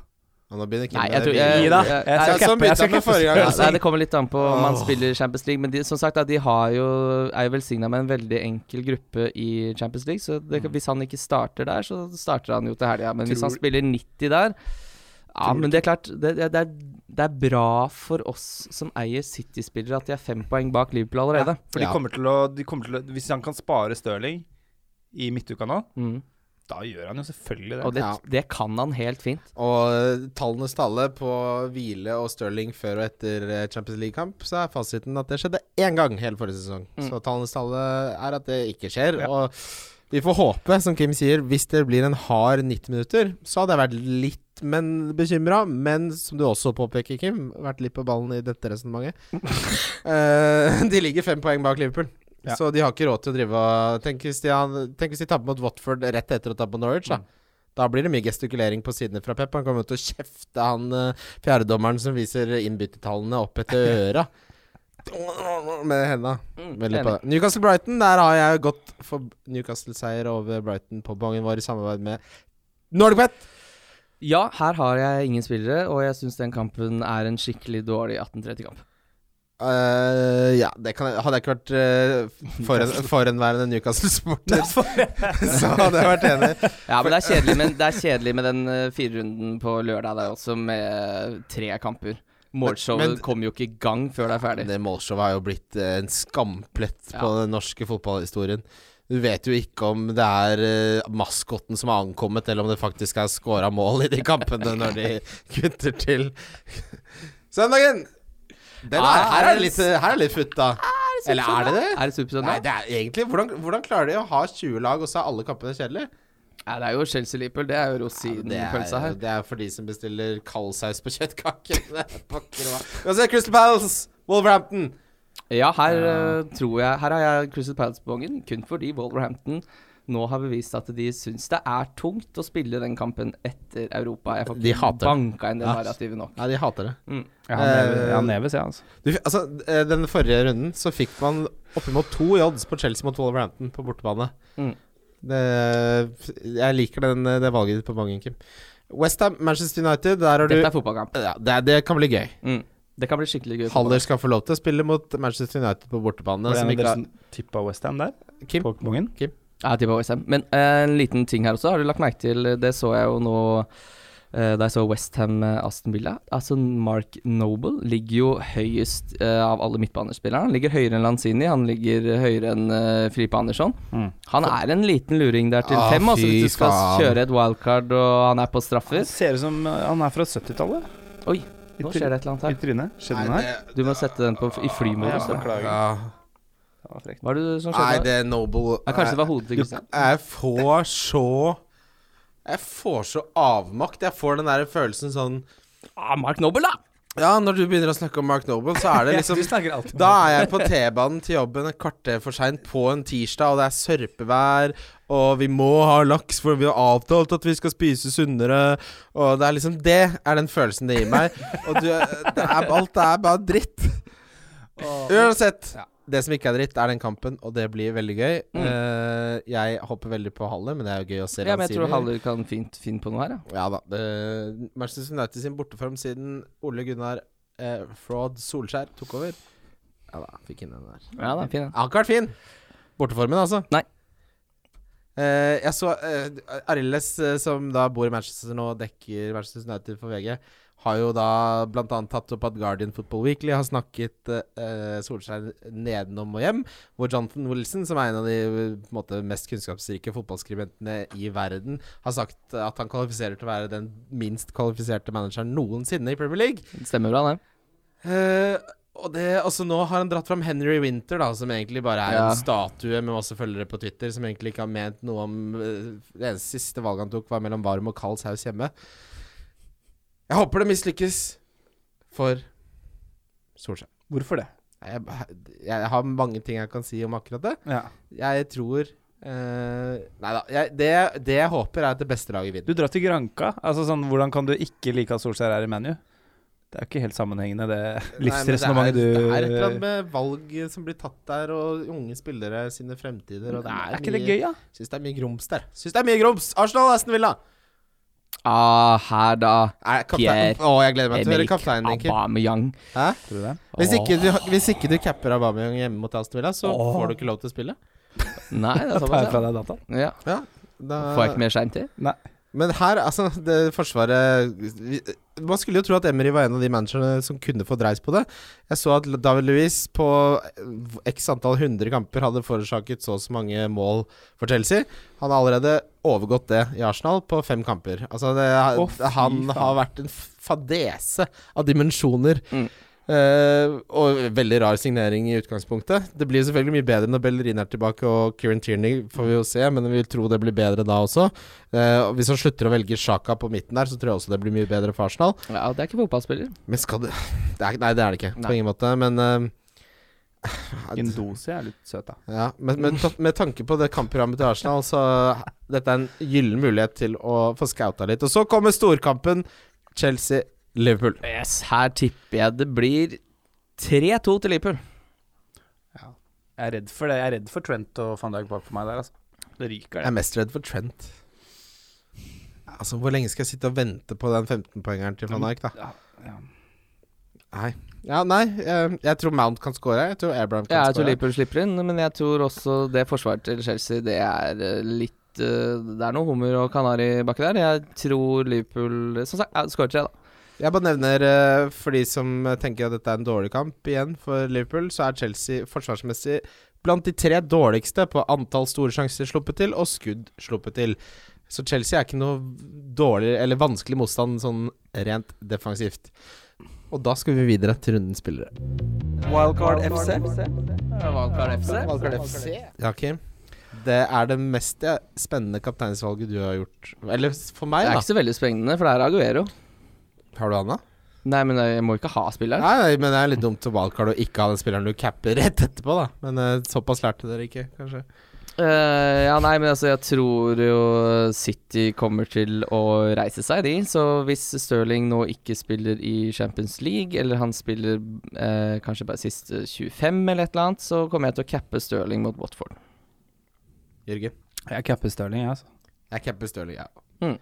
Og Nå begynner Kim
Nei,
med
jeg tror-
det.
jeg-
Gi deg.
jeg-
Jeg skal
Ja, sånn
cappe, jeg
begynte
skal
han med
cappe.
forrige
Ja,
gang.
Eh, nei, det kommer litt an på om man
Altså, Åh.
spiller i Champions League. Men de, som sagt, da, de har jo, er jo velsigna med en veldig enkel gruppe i Champions League. Så
Mm.
det, hvis han ikke starter der, så starter han jo til helga. Men hvis han spiller 90 der Ja, men det er klart det, det, det, er, det er bra for oss som eier City-spillere at de er fem poeng bak Liverpool allerede.
For de
Ja.
kommer til å, de kommer til å Hvis han kan spare Stirling i midtuka nå,
Mm.
Da gjør han jo selvfølgelig det.
Og det,
Ja.
det kan han helt fint.
Og eh, tallenes tale på hvile og Stirling før og etter eh, Champions League-kamp, så er fasiten at det skjedde én gang hele forrige sesong. Så tallenes tale er at det ikke skjer. Og vi får håpe, som Kim sier, hvis det blir en hard 90 minutter, så hadde jeg vært litt men bekymra. Men som du også påpeker, Kim, vært litt på ballen i dette resonnementet. Eh, de ligger fem poeng bak Liverpool.
Ja.
Så de har ikke råd til å drive og Tenk hvis de, har- tenk hvis de taper mot Watford rett etter å tape mot Norwich, da. Da blir det mye gestikulering på sidene fra Pep. Han kommer jo til å kjefte han eh, fjerdedommeren som viser innbyttertallene opp etter øra. Med henda. Veldig på det. Newcastle Brighton, der har jeg gått for Newcastle-seier over Brighton på bongen vår i samarbeid med NordicBet.
Ja, her har jeg ingen spillere, og jeg syns den kampen er en skikkelig dårlig 1830-kamp.
Eh, ja, det kan, jeg- hadde jeg ikke vært eh, forhen, forhenværende Newcastle-supporter, så hadde jeg vært enig.
Ja, men det er kjedelig, men det er kjedelig med den eh, firerunden på lørdag der også, med tre kamper.
Men-
Målshowet
men-
kommer jo ikke i gang før det er ferdig.
Det målshowet har jo blitt eh, en skamplett på
Ja.
den norske fotballhistorien. Du vet jo ikke om det er eh, maskotten som har ankommet, eller om det faktisk er scora mål i de kampene når de kutter til Søndagen! Den er,
Ah,
her er
det
det litt, eh, her er det litt futt, da. Eller er det det?
Er det
Nei,
supersøndag?
det er egentlig hvordan, hvordan klarer de å ha 20 lag, og så er alle kampene kjedelige?
Ja, det er jo Chelsea-Liverpool. Det er jo
Det er,
rosinpølsa her.
det er for de som bestiller kaldsaus på kjøttkaker. Det er Pokker hva. Uansett, Crystal Palace, Wolverhampton.
Ja, her eh, tror jeg Her har jeg Crystal Palace-bongen kun fordi Wolverhampton nå har bevist at de syns det er tungt å spille den kampen etter Europa. Jeg får
De hater det.
banka inn det
Ja.
narrativet nå.
Ja, de hater det.
Ja, han neves,
Eh,
ja, han neves, ja, altså.
Du, f- altså, d- eh, den forrige runden så fikk man oppimot to i odds på Chelsea mot Wolverhampton på bortebane.
Mm.
Det, jeg liker den, eh, det valget ditt på mange, Kim. Westham, Manchester United, der har du
Dette er fotballkamp.
ja, det, det kan bli gøy.
Mm. Det kan bli skikkelig gøy.
Haller skal få lov til å spille mot Manchester United på bortebane.
Var det
Som
en av
ikke
dere
har,
som tippa Westham der?
Kim?
På bongen?
Ja, jeg tipper West Ham. Men eh, en liten ting her også. Har du lagt merke til Det så jeg jo nå eh, da jeg så Westham-Aston Villa. Altså Mark Noble ligger jo høyest eh, av alle midtbanespillere. Han ligger høyere enn Lanzini, han ligger høyere enn eh, Filipe Andersson. Han er en liten luring der til
Mm. Ah,
fem, altså,
fy
hvis du skal
faen.
kjøre et wildcard og han er på
Det
straffer.
ser ut som eh, han er fra 70-tallet.
Oi, nå skjer det et eller annet
I
her.
trynet. Skjedde
nei,
den her?
det,
Du må sette den på, i flymodus. da.
Beklager.
ja.
Det var frekt.
Hva er det som
nei,
skjedde?
det er Noble
Ja, kanskje det var hodet til Christian.
Jeg får så Jeg får så avmakt. Jeg får den der følelsen sånn
Ah, Mark Noble, da!
Ja, når du begynner å snakke om Mark Noble, så er det liksom Da er jeg på T-banen til jobben et kvarter for seint på en tirsdag, og det er sørpevær, og vi må ha laks, for vi har avtalt at vi skal spise sunnere, og det er liksom Det er den følelsen det gir meg. Og du, det er, alt er bare dritt. Uansett. Det som ikke er dritt, er den kampen, og det blir veldig gøy. Eh, jeg hopper veldig på Haller, men det er jo gøy å se
Mm. Ja, men jeg tror
Lanzini.
Haller kan fint finne på noe her, ja.
Ja da. Det, Manchester United sin borteform siden Ole Gunnar eh, Fraud Solskjær tok over. Ja da, fikk inn den der.
Ja, da, fin, ja.
Han har ikke vært fin. Borteformen, altså.
Nei.
Eh, jeg så eh, Arildes, eh, som da bor i Manchester nå og dekker Manchester United for VG, har jo da blant annet tatt opp at Guardian Football Weekly har snakket eh, Solskjær nedenom og hjem, hvor Jonathan Wilson, som er en av de eh, på en måte, mest kunnskapsrike fotballskribentene i verden, har sagt at han kvalifiserer til å være den minst kvalifiserte manageren noensinne i Premier League.
Det Stemmer bra, det.
Eh, og det, altså Nå har han dratt fram Henry Winter, da, som egentlig bare er
Ja.
en statue med masse følgere på Twitter, som egentlig ikke har ment noe om eh, Det eneste siste valget han tok, var mellom varm og kald saus hjemme. Jeg håper det mislykkes for Solskjær.
Hvorfor det?
Jeg, jeg har mange ting jeg kan si om akkurat det.
Ja.
Jeg tror eh, Nei da. Jeg, det, det jeg håper, er at det beste laget vinner.
Du drar til Granca. Altså sånn, Hvordan kan du ikke like at Solskjær er i ManU? Det er jo ikke helt sammenhengende, det
Nei, men det er-
livsresonnementet du
Det er et
eh,
eller annet med valg som blir tatt der, og unge spillere sine fremtider, og det er,
Er ikke det
mye-
gøy, da?
Syns det er mye grums der. Syns det er mye grums! Arsenal Aston Villa!
Ah, her da.
Er kaptein- Å, jeg gleder meg til å høre
Emerick
kapteinen din, Kim.
Aubameyang.
Hæ?
Tror du det?
Hvis ikke, du, hvis ikke du capper Aubameyang hjemme mot Aston Villa, så får du ikke lov til å spille.
Nei, det er
Tar jeg
såpass,
fra deg dataen?
ja. ja.
Ja, da,
Får jeg ikke mer skjerm til?
Nei.
Men her, altså, det forsvaret vi- Man skulle jo tro at Emery var en av de managerne som kunne få dreis på det. Jeg så at David Louis på x antall 100 kamper hadde forårsaket så og så mange mål for Chelsea. Han har allerede overgått det i Arsenal på fem kamper. Altså, det,
Å, fy
han
faen.
har vært en fadese av dimensjoner.
Mm.
Eh, og veldig rar signering i utgangspunktet. Det blir selvfølgelig mye bedre når Bellerin er tilbake, og Kieran Tierney får vi jo se, men vi vil tro det blir bedre da også. Eh, og hvis han slutter å velge Sjaka på midten der, så tror jeg også det blir mye bedre for Arsenal.
Ja, det er ikke fotballspiller.
Men skal det, det er, Nei, det er det ikke,
Nei.
på ingen måte. Men, eh,
Indose er litt søt, da.
ja, men med, ta- med tanke på det kampprogrammet til Arsenal, så dette er en gyllen mulighet til å få scouta litt. Og så kommer storkampen Chelsea-Liverpool.
Yes, her tipper jeg det blir 3-2 til Liverpool.
Jeg er redd for det. Jeg er redd for Trent og van Dijk bak på meg der, altså. Det ryker,
Jeg er mest redd for Trent. Altså, Hvor lenge skal jeg sitte og vente på den 15-poengeren til van Dijk, da?
Ja, ja.
Nei. Ja, nei, eh, jeg tror Mount kan score. Jeg tror Abraham kan
Ja, jeg tror
score.
Liverpool slipper inn, men jeg tror også det forsvaret til Chelsea, det er eh, litt eh, Det er noe hummer og kanari baki der. Jeg tror Liverpool Som sagt, ja, skårer tre, da.
Jeg bare nevner eh, for de som eh, tenker at dette er en dårlig kamp igjen for Liverpool, så er Chelsea forsvarsmessig blant de tre dårligste på antall store sjanser sluppet til og skudd sluppet til. Så Chelsea er ikke noe dårlig eller vanskelig motstand sånn rent defensivt. Og da skal vi videre til rundens spillere.
Wildcard FC.
Valgkart FC.
Jakim, det er det mest eh, spennende kapteinsvalget du har gjort. Eller for
Det
meg,
er
da.
ikke så veldig sprengende, for det er Aguero.
Har du Anna?
Nei, men jeg må ikke ha spilleren.
Nei, nei, men det er litt dumt å wildcard og ikke ha den spilleren du capper rett etterpå, da. Men eh, såpass lærte dere ikke, kanskje.
Eh, ja, nei, men altså, jeg tror jo City kommer til å reise seg, de. Så hvis Stirling nå ikke spiller i Champions League, eller han spiller eh, kanskje bare siste 25 eller et eller annet, så kommer jeg til å cappe Stirling mot Watford.
Jørgen.
Jeg capper Stirling, jeg, altså.
Jeg capper Stirling, ja.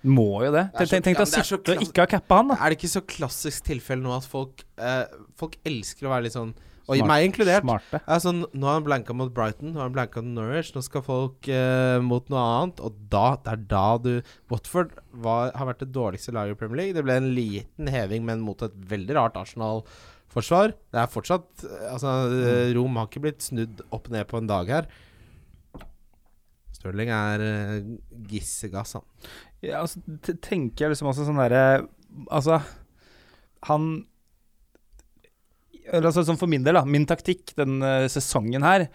Må jo det.
Det er så-
Tenk tenk
ja, men det er
deg å
så
sitte og
klasse-
ikke ha cappa han, da.
Er det ikke så klassisk tilfelle nå at folk eh, Folk elsker å være litt sånn Og
Smart-
meg inkludert.
Smarte.
Ja, sånn, nå har han blanka mot Brighton, nå har han blanka mot Norwich, nå skal folk eh, mot noe annet. Og da, det er da du Watford var, har vært det dårligste laget i Premier League. Det ble en liten heving, men mot et veldig rart Arsenal-forsvar. Det er fortsatt eh, Altså, eh,
Mm.
Rom har ikke blitt snudd opp ned på en dag her. Stirling er eh, gissegass, han.
Ja, altså, t- tenker jeg liksom også sånn derre Altså, han eller altså, sånn For min del, da. Min taktikk denne sesongen her,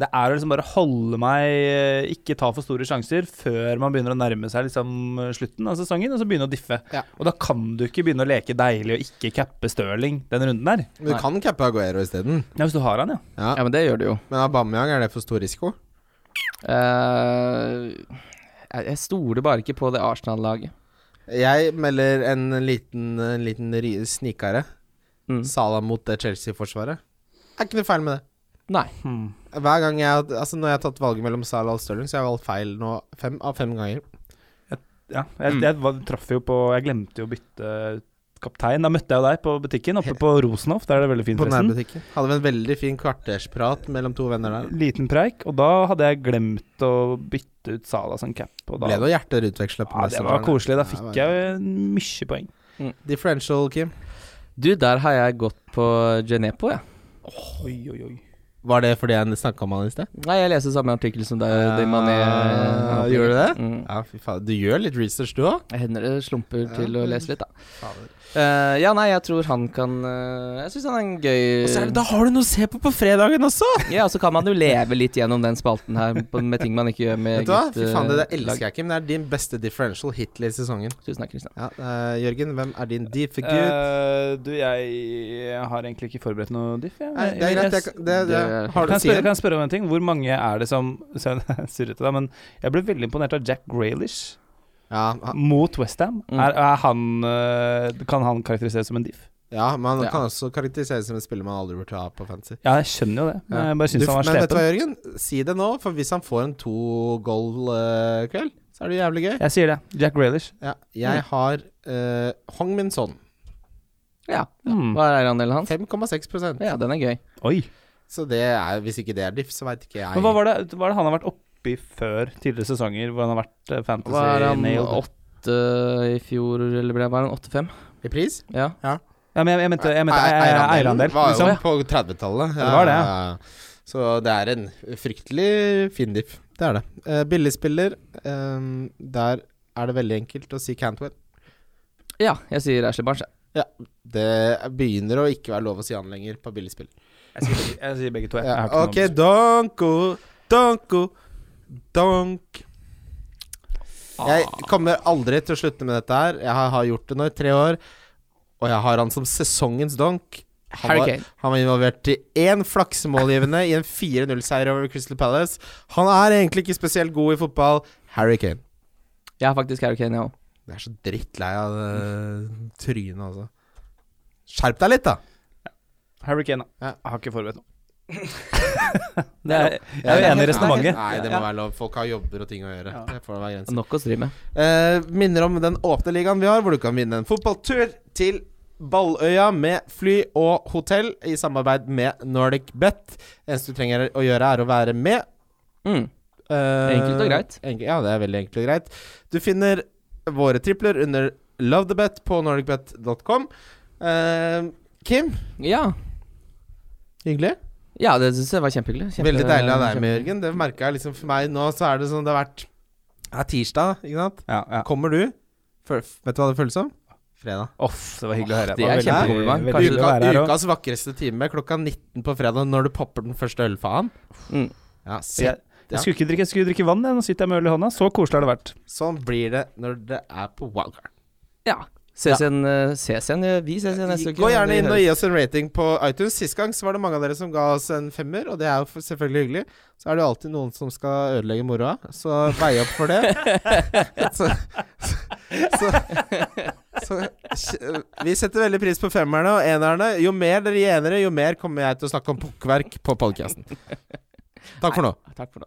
det er å liksom bare holde meg eh, Ikke ta for store sjanser før man begynner å nærme seg liksom slutten av sesongen, og så begynne å diffe.
Ja.
Og da kan du ikke begynne å leke deilig og ikke cappe Stirling den runden der.
Men du
Nei.
kan cappe Aguero isteden.
Ja, hvis du har han, ja.
Ja.
Ja, men det gjør det jo.
Men Aubameyang, er det for stor risiko?
Eh, jeg, jeg stoler bare ikke på det Arsenal-laget.
Jeg melder en liten, en liten ri- snikere.
Mm.
Salah mot det Chelsea-forsvaret. Er ikke noe feil med det.
Nei.
Hmm.
Hver gang jeg, har- altså Når jeg har tatt valget mellom Salah og Stirling, så har jeg valgt feil nå fem av fem ganger.
Ja, jeg,
Mm.
jeg var- traff jo på Jeg glemte jo å bytte kaptein. Da møtte jeg jo deg på butikken oppe på Rosenhoff. Der er det veldig fint,
På
forresten.
nærbutikken. Hadde vi en veldig fin kvartersprat mellom to venner der.
Liten preik, og da hadde jeg glemt å bytte ut Sala som cap. Og da,
Ble noen hjerter utveksla på
ja, det var
mesteparten.
koselig. Da
Ja,
fikk
det var-
jeg mye poeng.
Differential, Kim.
Du, der har jeg gått på Genepo, jeg.
Oi, oi, oi.
Var det fordi jeg snakka om han i sted?
Nei, jeg leser samme artikkel som deg,
Ja,
De Mané.
gjør du det?
Mm.
Ja, fy faen. Du gjør litt research, du òg?
Jeg hender det slumper
Ja,
til å
men-
lese litt, da. Eh, ja, nei, jeg tror han kan eh, Jeg syns han er en gøy
Da har du noe å se på på fredagen også!
Ja, så kan man jo leve litt gjennom den spalten her på, med ting man ikke gjør med
Vet du hva?
eget,
Fy faen, det
eh,
der elsker jeg, Kim. Det er din beste differential hittil i sesongen.
lag. Tusen takk, Kristian.
Ja, eh, Jørgen, hvem er din D-figur?
Eh, du, jeg har egentlig ikke forberedt noe diff. Jeg.
Nei, det er greit. Jeg, kan- det, det,
det-
har
Eh, kan
du
jeg, spørre,
siden?
kan jeg spørre om en ting? Hvor mange er det som så jeg er Surrete, da, men jeg ble veldig imponert av Jack Graylish
Ja, han-
mot Westham.
Mm.
Er, er han eh, Kan han karakteriseres som en diff?
ja man
Ja.
kan også karakteriseres som en spiller man aldri burde ha på fancy.
Ja, jeg skjønner jo det, men
Ja.
jeg bare syns
Du-
han var
men vet du
slepen.
hva, Jørgen? Si det nå, for hvis han får en to goal-kveld, så er det jævlig gøy.
Jeg sier det. Jack Graylish.
Ja, jeg har eh, Hong Min Son.
Ja.
Mm.
Hva er eierandelen hans?
5,6
Ja, den er gøy.
Oi.
Så det er, hvis ikke det er diff, så veit ikke jeg.
Men hva var det, hva er det han har vært oppi før tidligere sesonger, hvor han har vært eh, fantasy
Hva er han?
nailed?
Åtte åtte i fjor, eller ble det bare en 8-5?
I pris?
Ja.
Ja, men jeg, jeg mente, jeg mente
Ei-
ei- eierandel.
var jo
Liksom.
på 30-tallet.
Det var det, ja.
ja, ja. Så det er en fryktelig fin diff. Det er det. Eh, billigspiller, eh, der er det veldig enkelt å si Cantwell.
ja, jeg sier Ashley Barnes. jeg.
Det begynner å ikke være lov å si han lenger på billigspill.
Jeg sier begge, jeg sier begge to. Jeg. Jeg
Ja.
har ikke noe
Ok, donko, donko, donk. Jeg kommer aldri til å slutte med dette her. Jeg har, har gjort det nå i tre år, og jeg har han som sesongens donk. Han
Harry
var,
Kane.
han var involvert i én flaksemålgivende i en 4-0-seier over Crystal Palace. Han er egentlig ikke spesielt god i fotball. Harry Kane.
Jeg har faktisk Harry Kane, jeg òg.
Jeg er så drittlei av det trynet, altså. Skjerp deg litt, da!
Harry Kane, da.
Ja.
Jeg har ikke forberedt noe.
Det er
Jeg er jo enig i resonnementet.
Nei, det må være lov. Folk har jobber og ting å gjøre. Det får være grenser.
nok å stri med.
Eh, minner om den åpne ligaen vi har, hvor du kan vinne en fotballtur til Balløya med fly og hotell i samarbeid med Nordic Bet. Eneste du trenger å gjøre, er å være med.
Mm.
Eh,
Enkelt og greit.
enk- ja, det er veldig enkelt og greit. Du finner våre tripler under lovethebet på nordicbet.com. Eh, Kim,
Ja.
hyggelig.
ja, det syns jeg var kjempehyggelig. Kjempe-
Veldig deilig av deg
kjempe-
med, Jørgen. Det merka jeg liksom for meg nå, så er det sånn det har vært Det er tirsdag, ikke sant?
Ja, ja.
Kommer du? Føl, vet du hva det føles som? Fredag.
Off, det var hyggelig å høre.
Ah, Det er
var veldig-
kjempekompliment.
veldig
Kanskje
hyggelig å være her
Uka,
også.
ukas vakreste time, klokka 19 på fredag, når du popper den første ølfaen.
Mm.
Ja, se.
Jeg, jeg skulle ikke drikke, jeg skulle drikke vann, jeg. nå sitter jeg med øl i hånda. Så koselig har det vært.
Sånn blir det når det er på wildcard.
Ja. Ses igjen, eh, ses igjen. eh, Vi ses igjen neste uke.
Gå gjerne
Vi
inn og
høres.
gi oss en rating på iTunes. Sist gang så var det mange av dere som ga oss en femmer, og det er jo f- selvfølgelig hyggelig. Så er det jo alltid noen som skal ødelegge moroa, så vei opp for det. så, så, så, så Vi setter veldig pris på femmerne og enerne. Jo mer dere gir enere, jo mer kommer jeg til å snakke om pukkverk på podkasten. Takk for nå.
Takk for nå.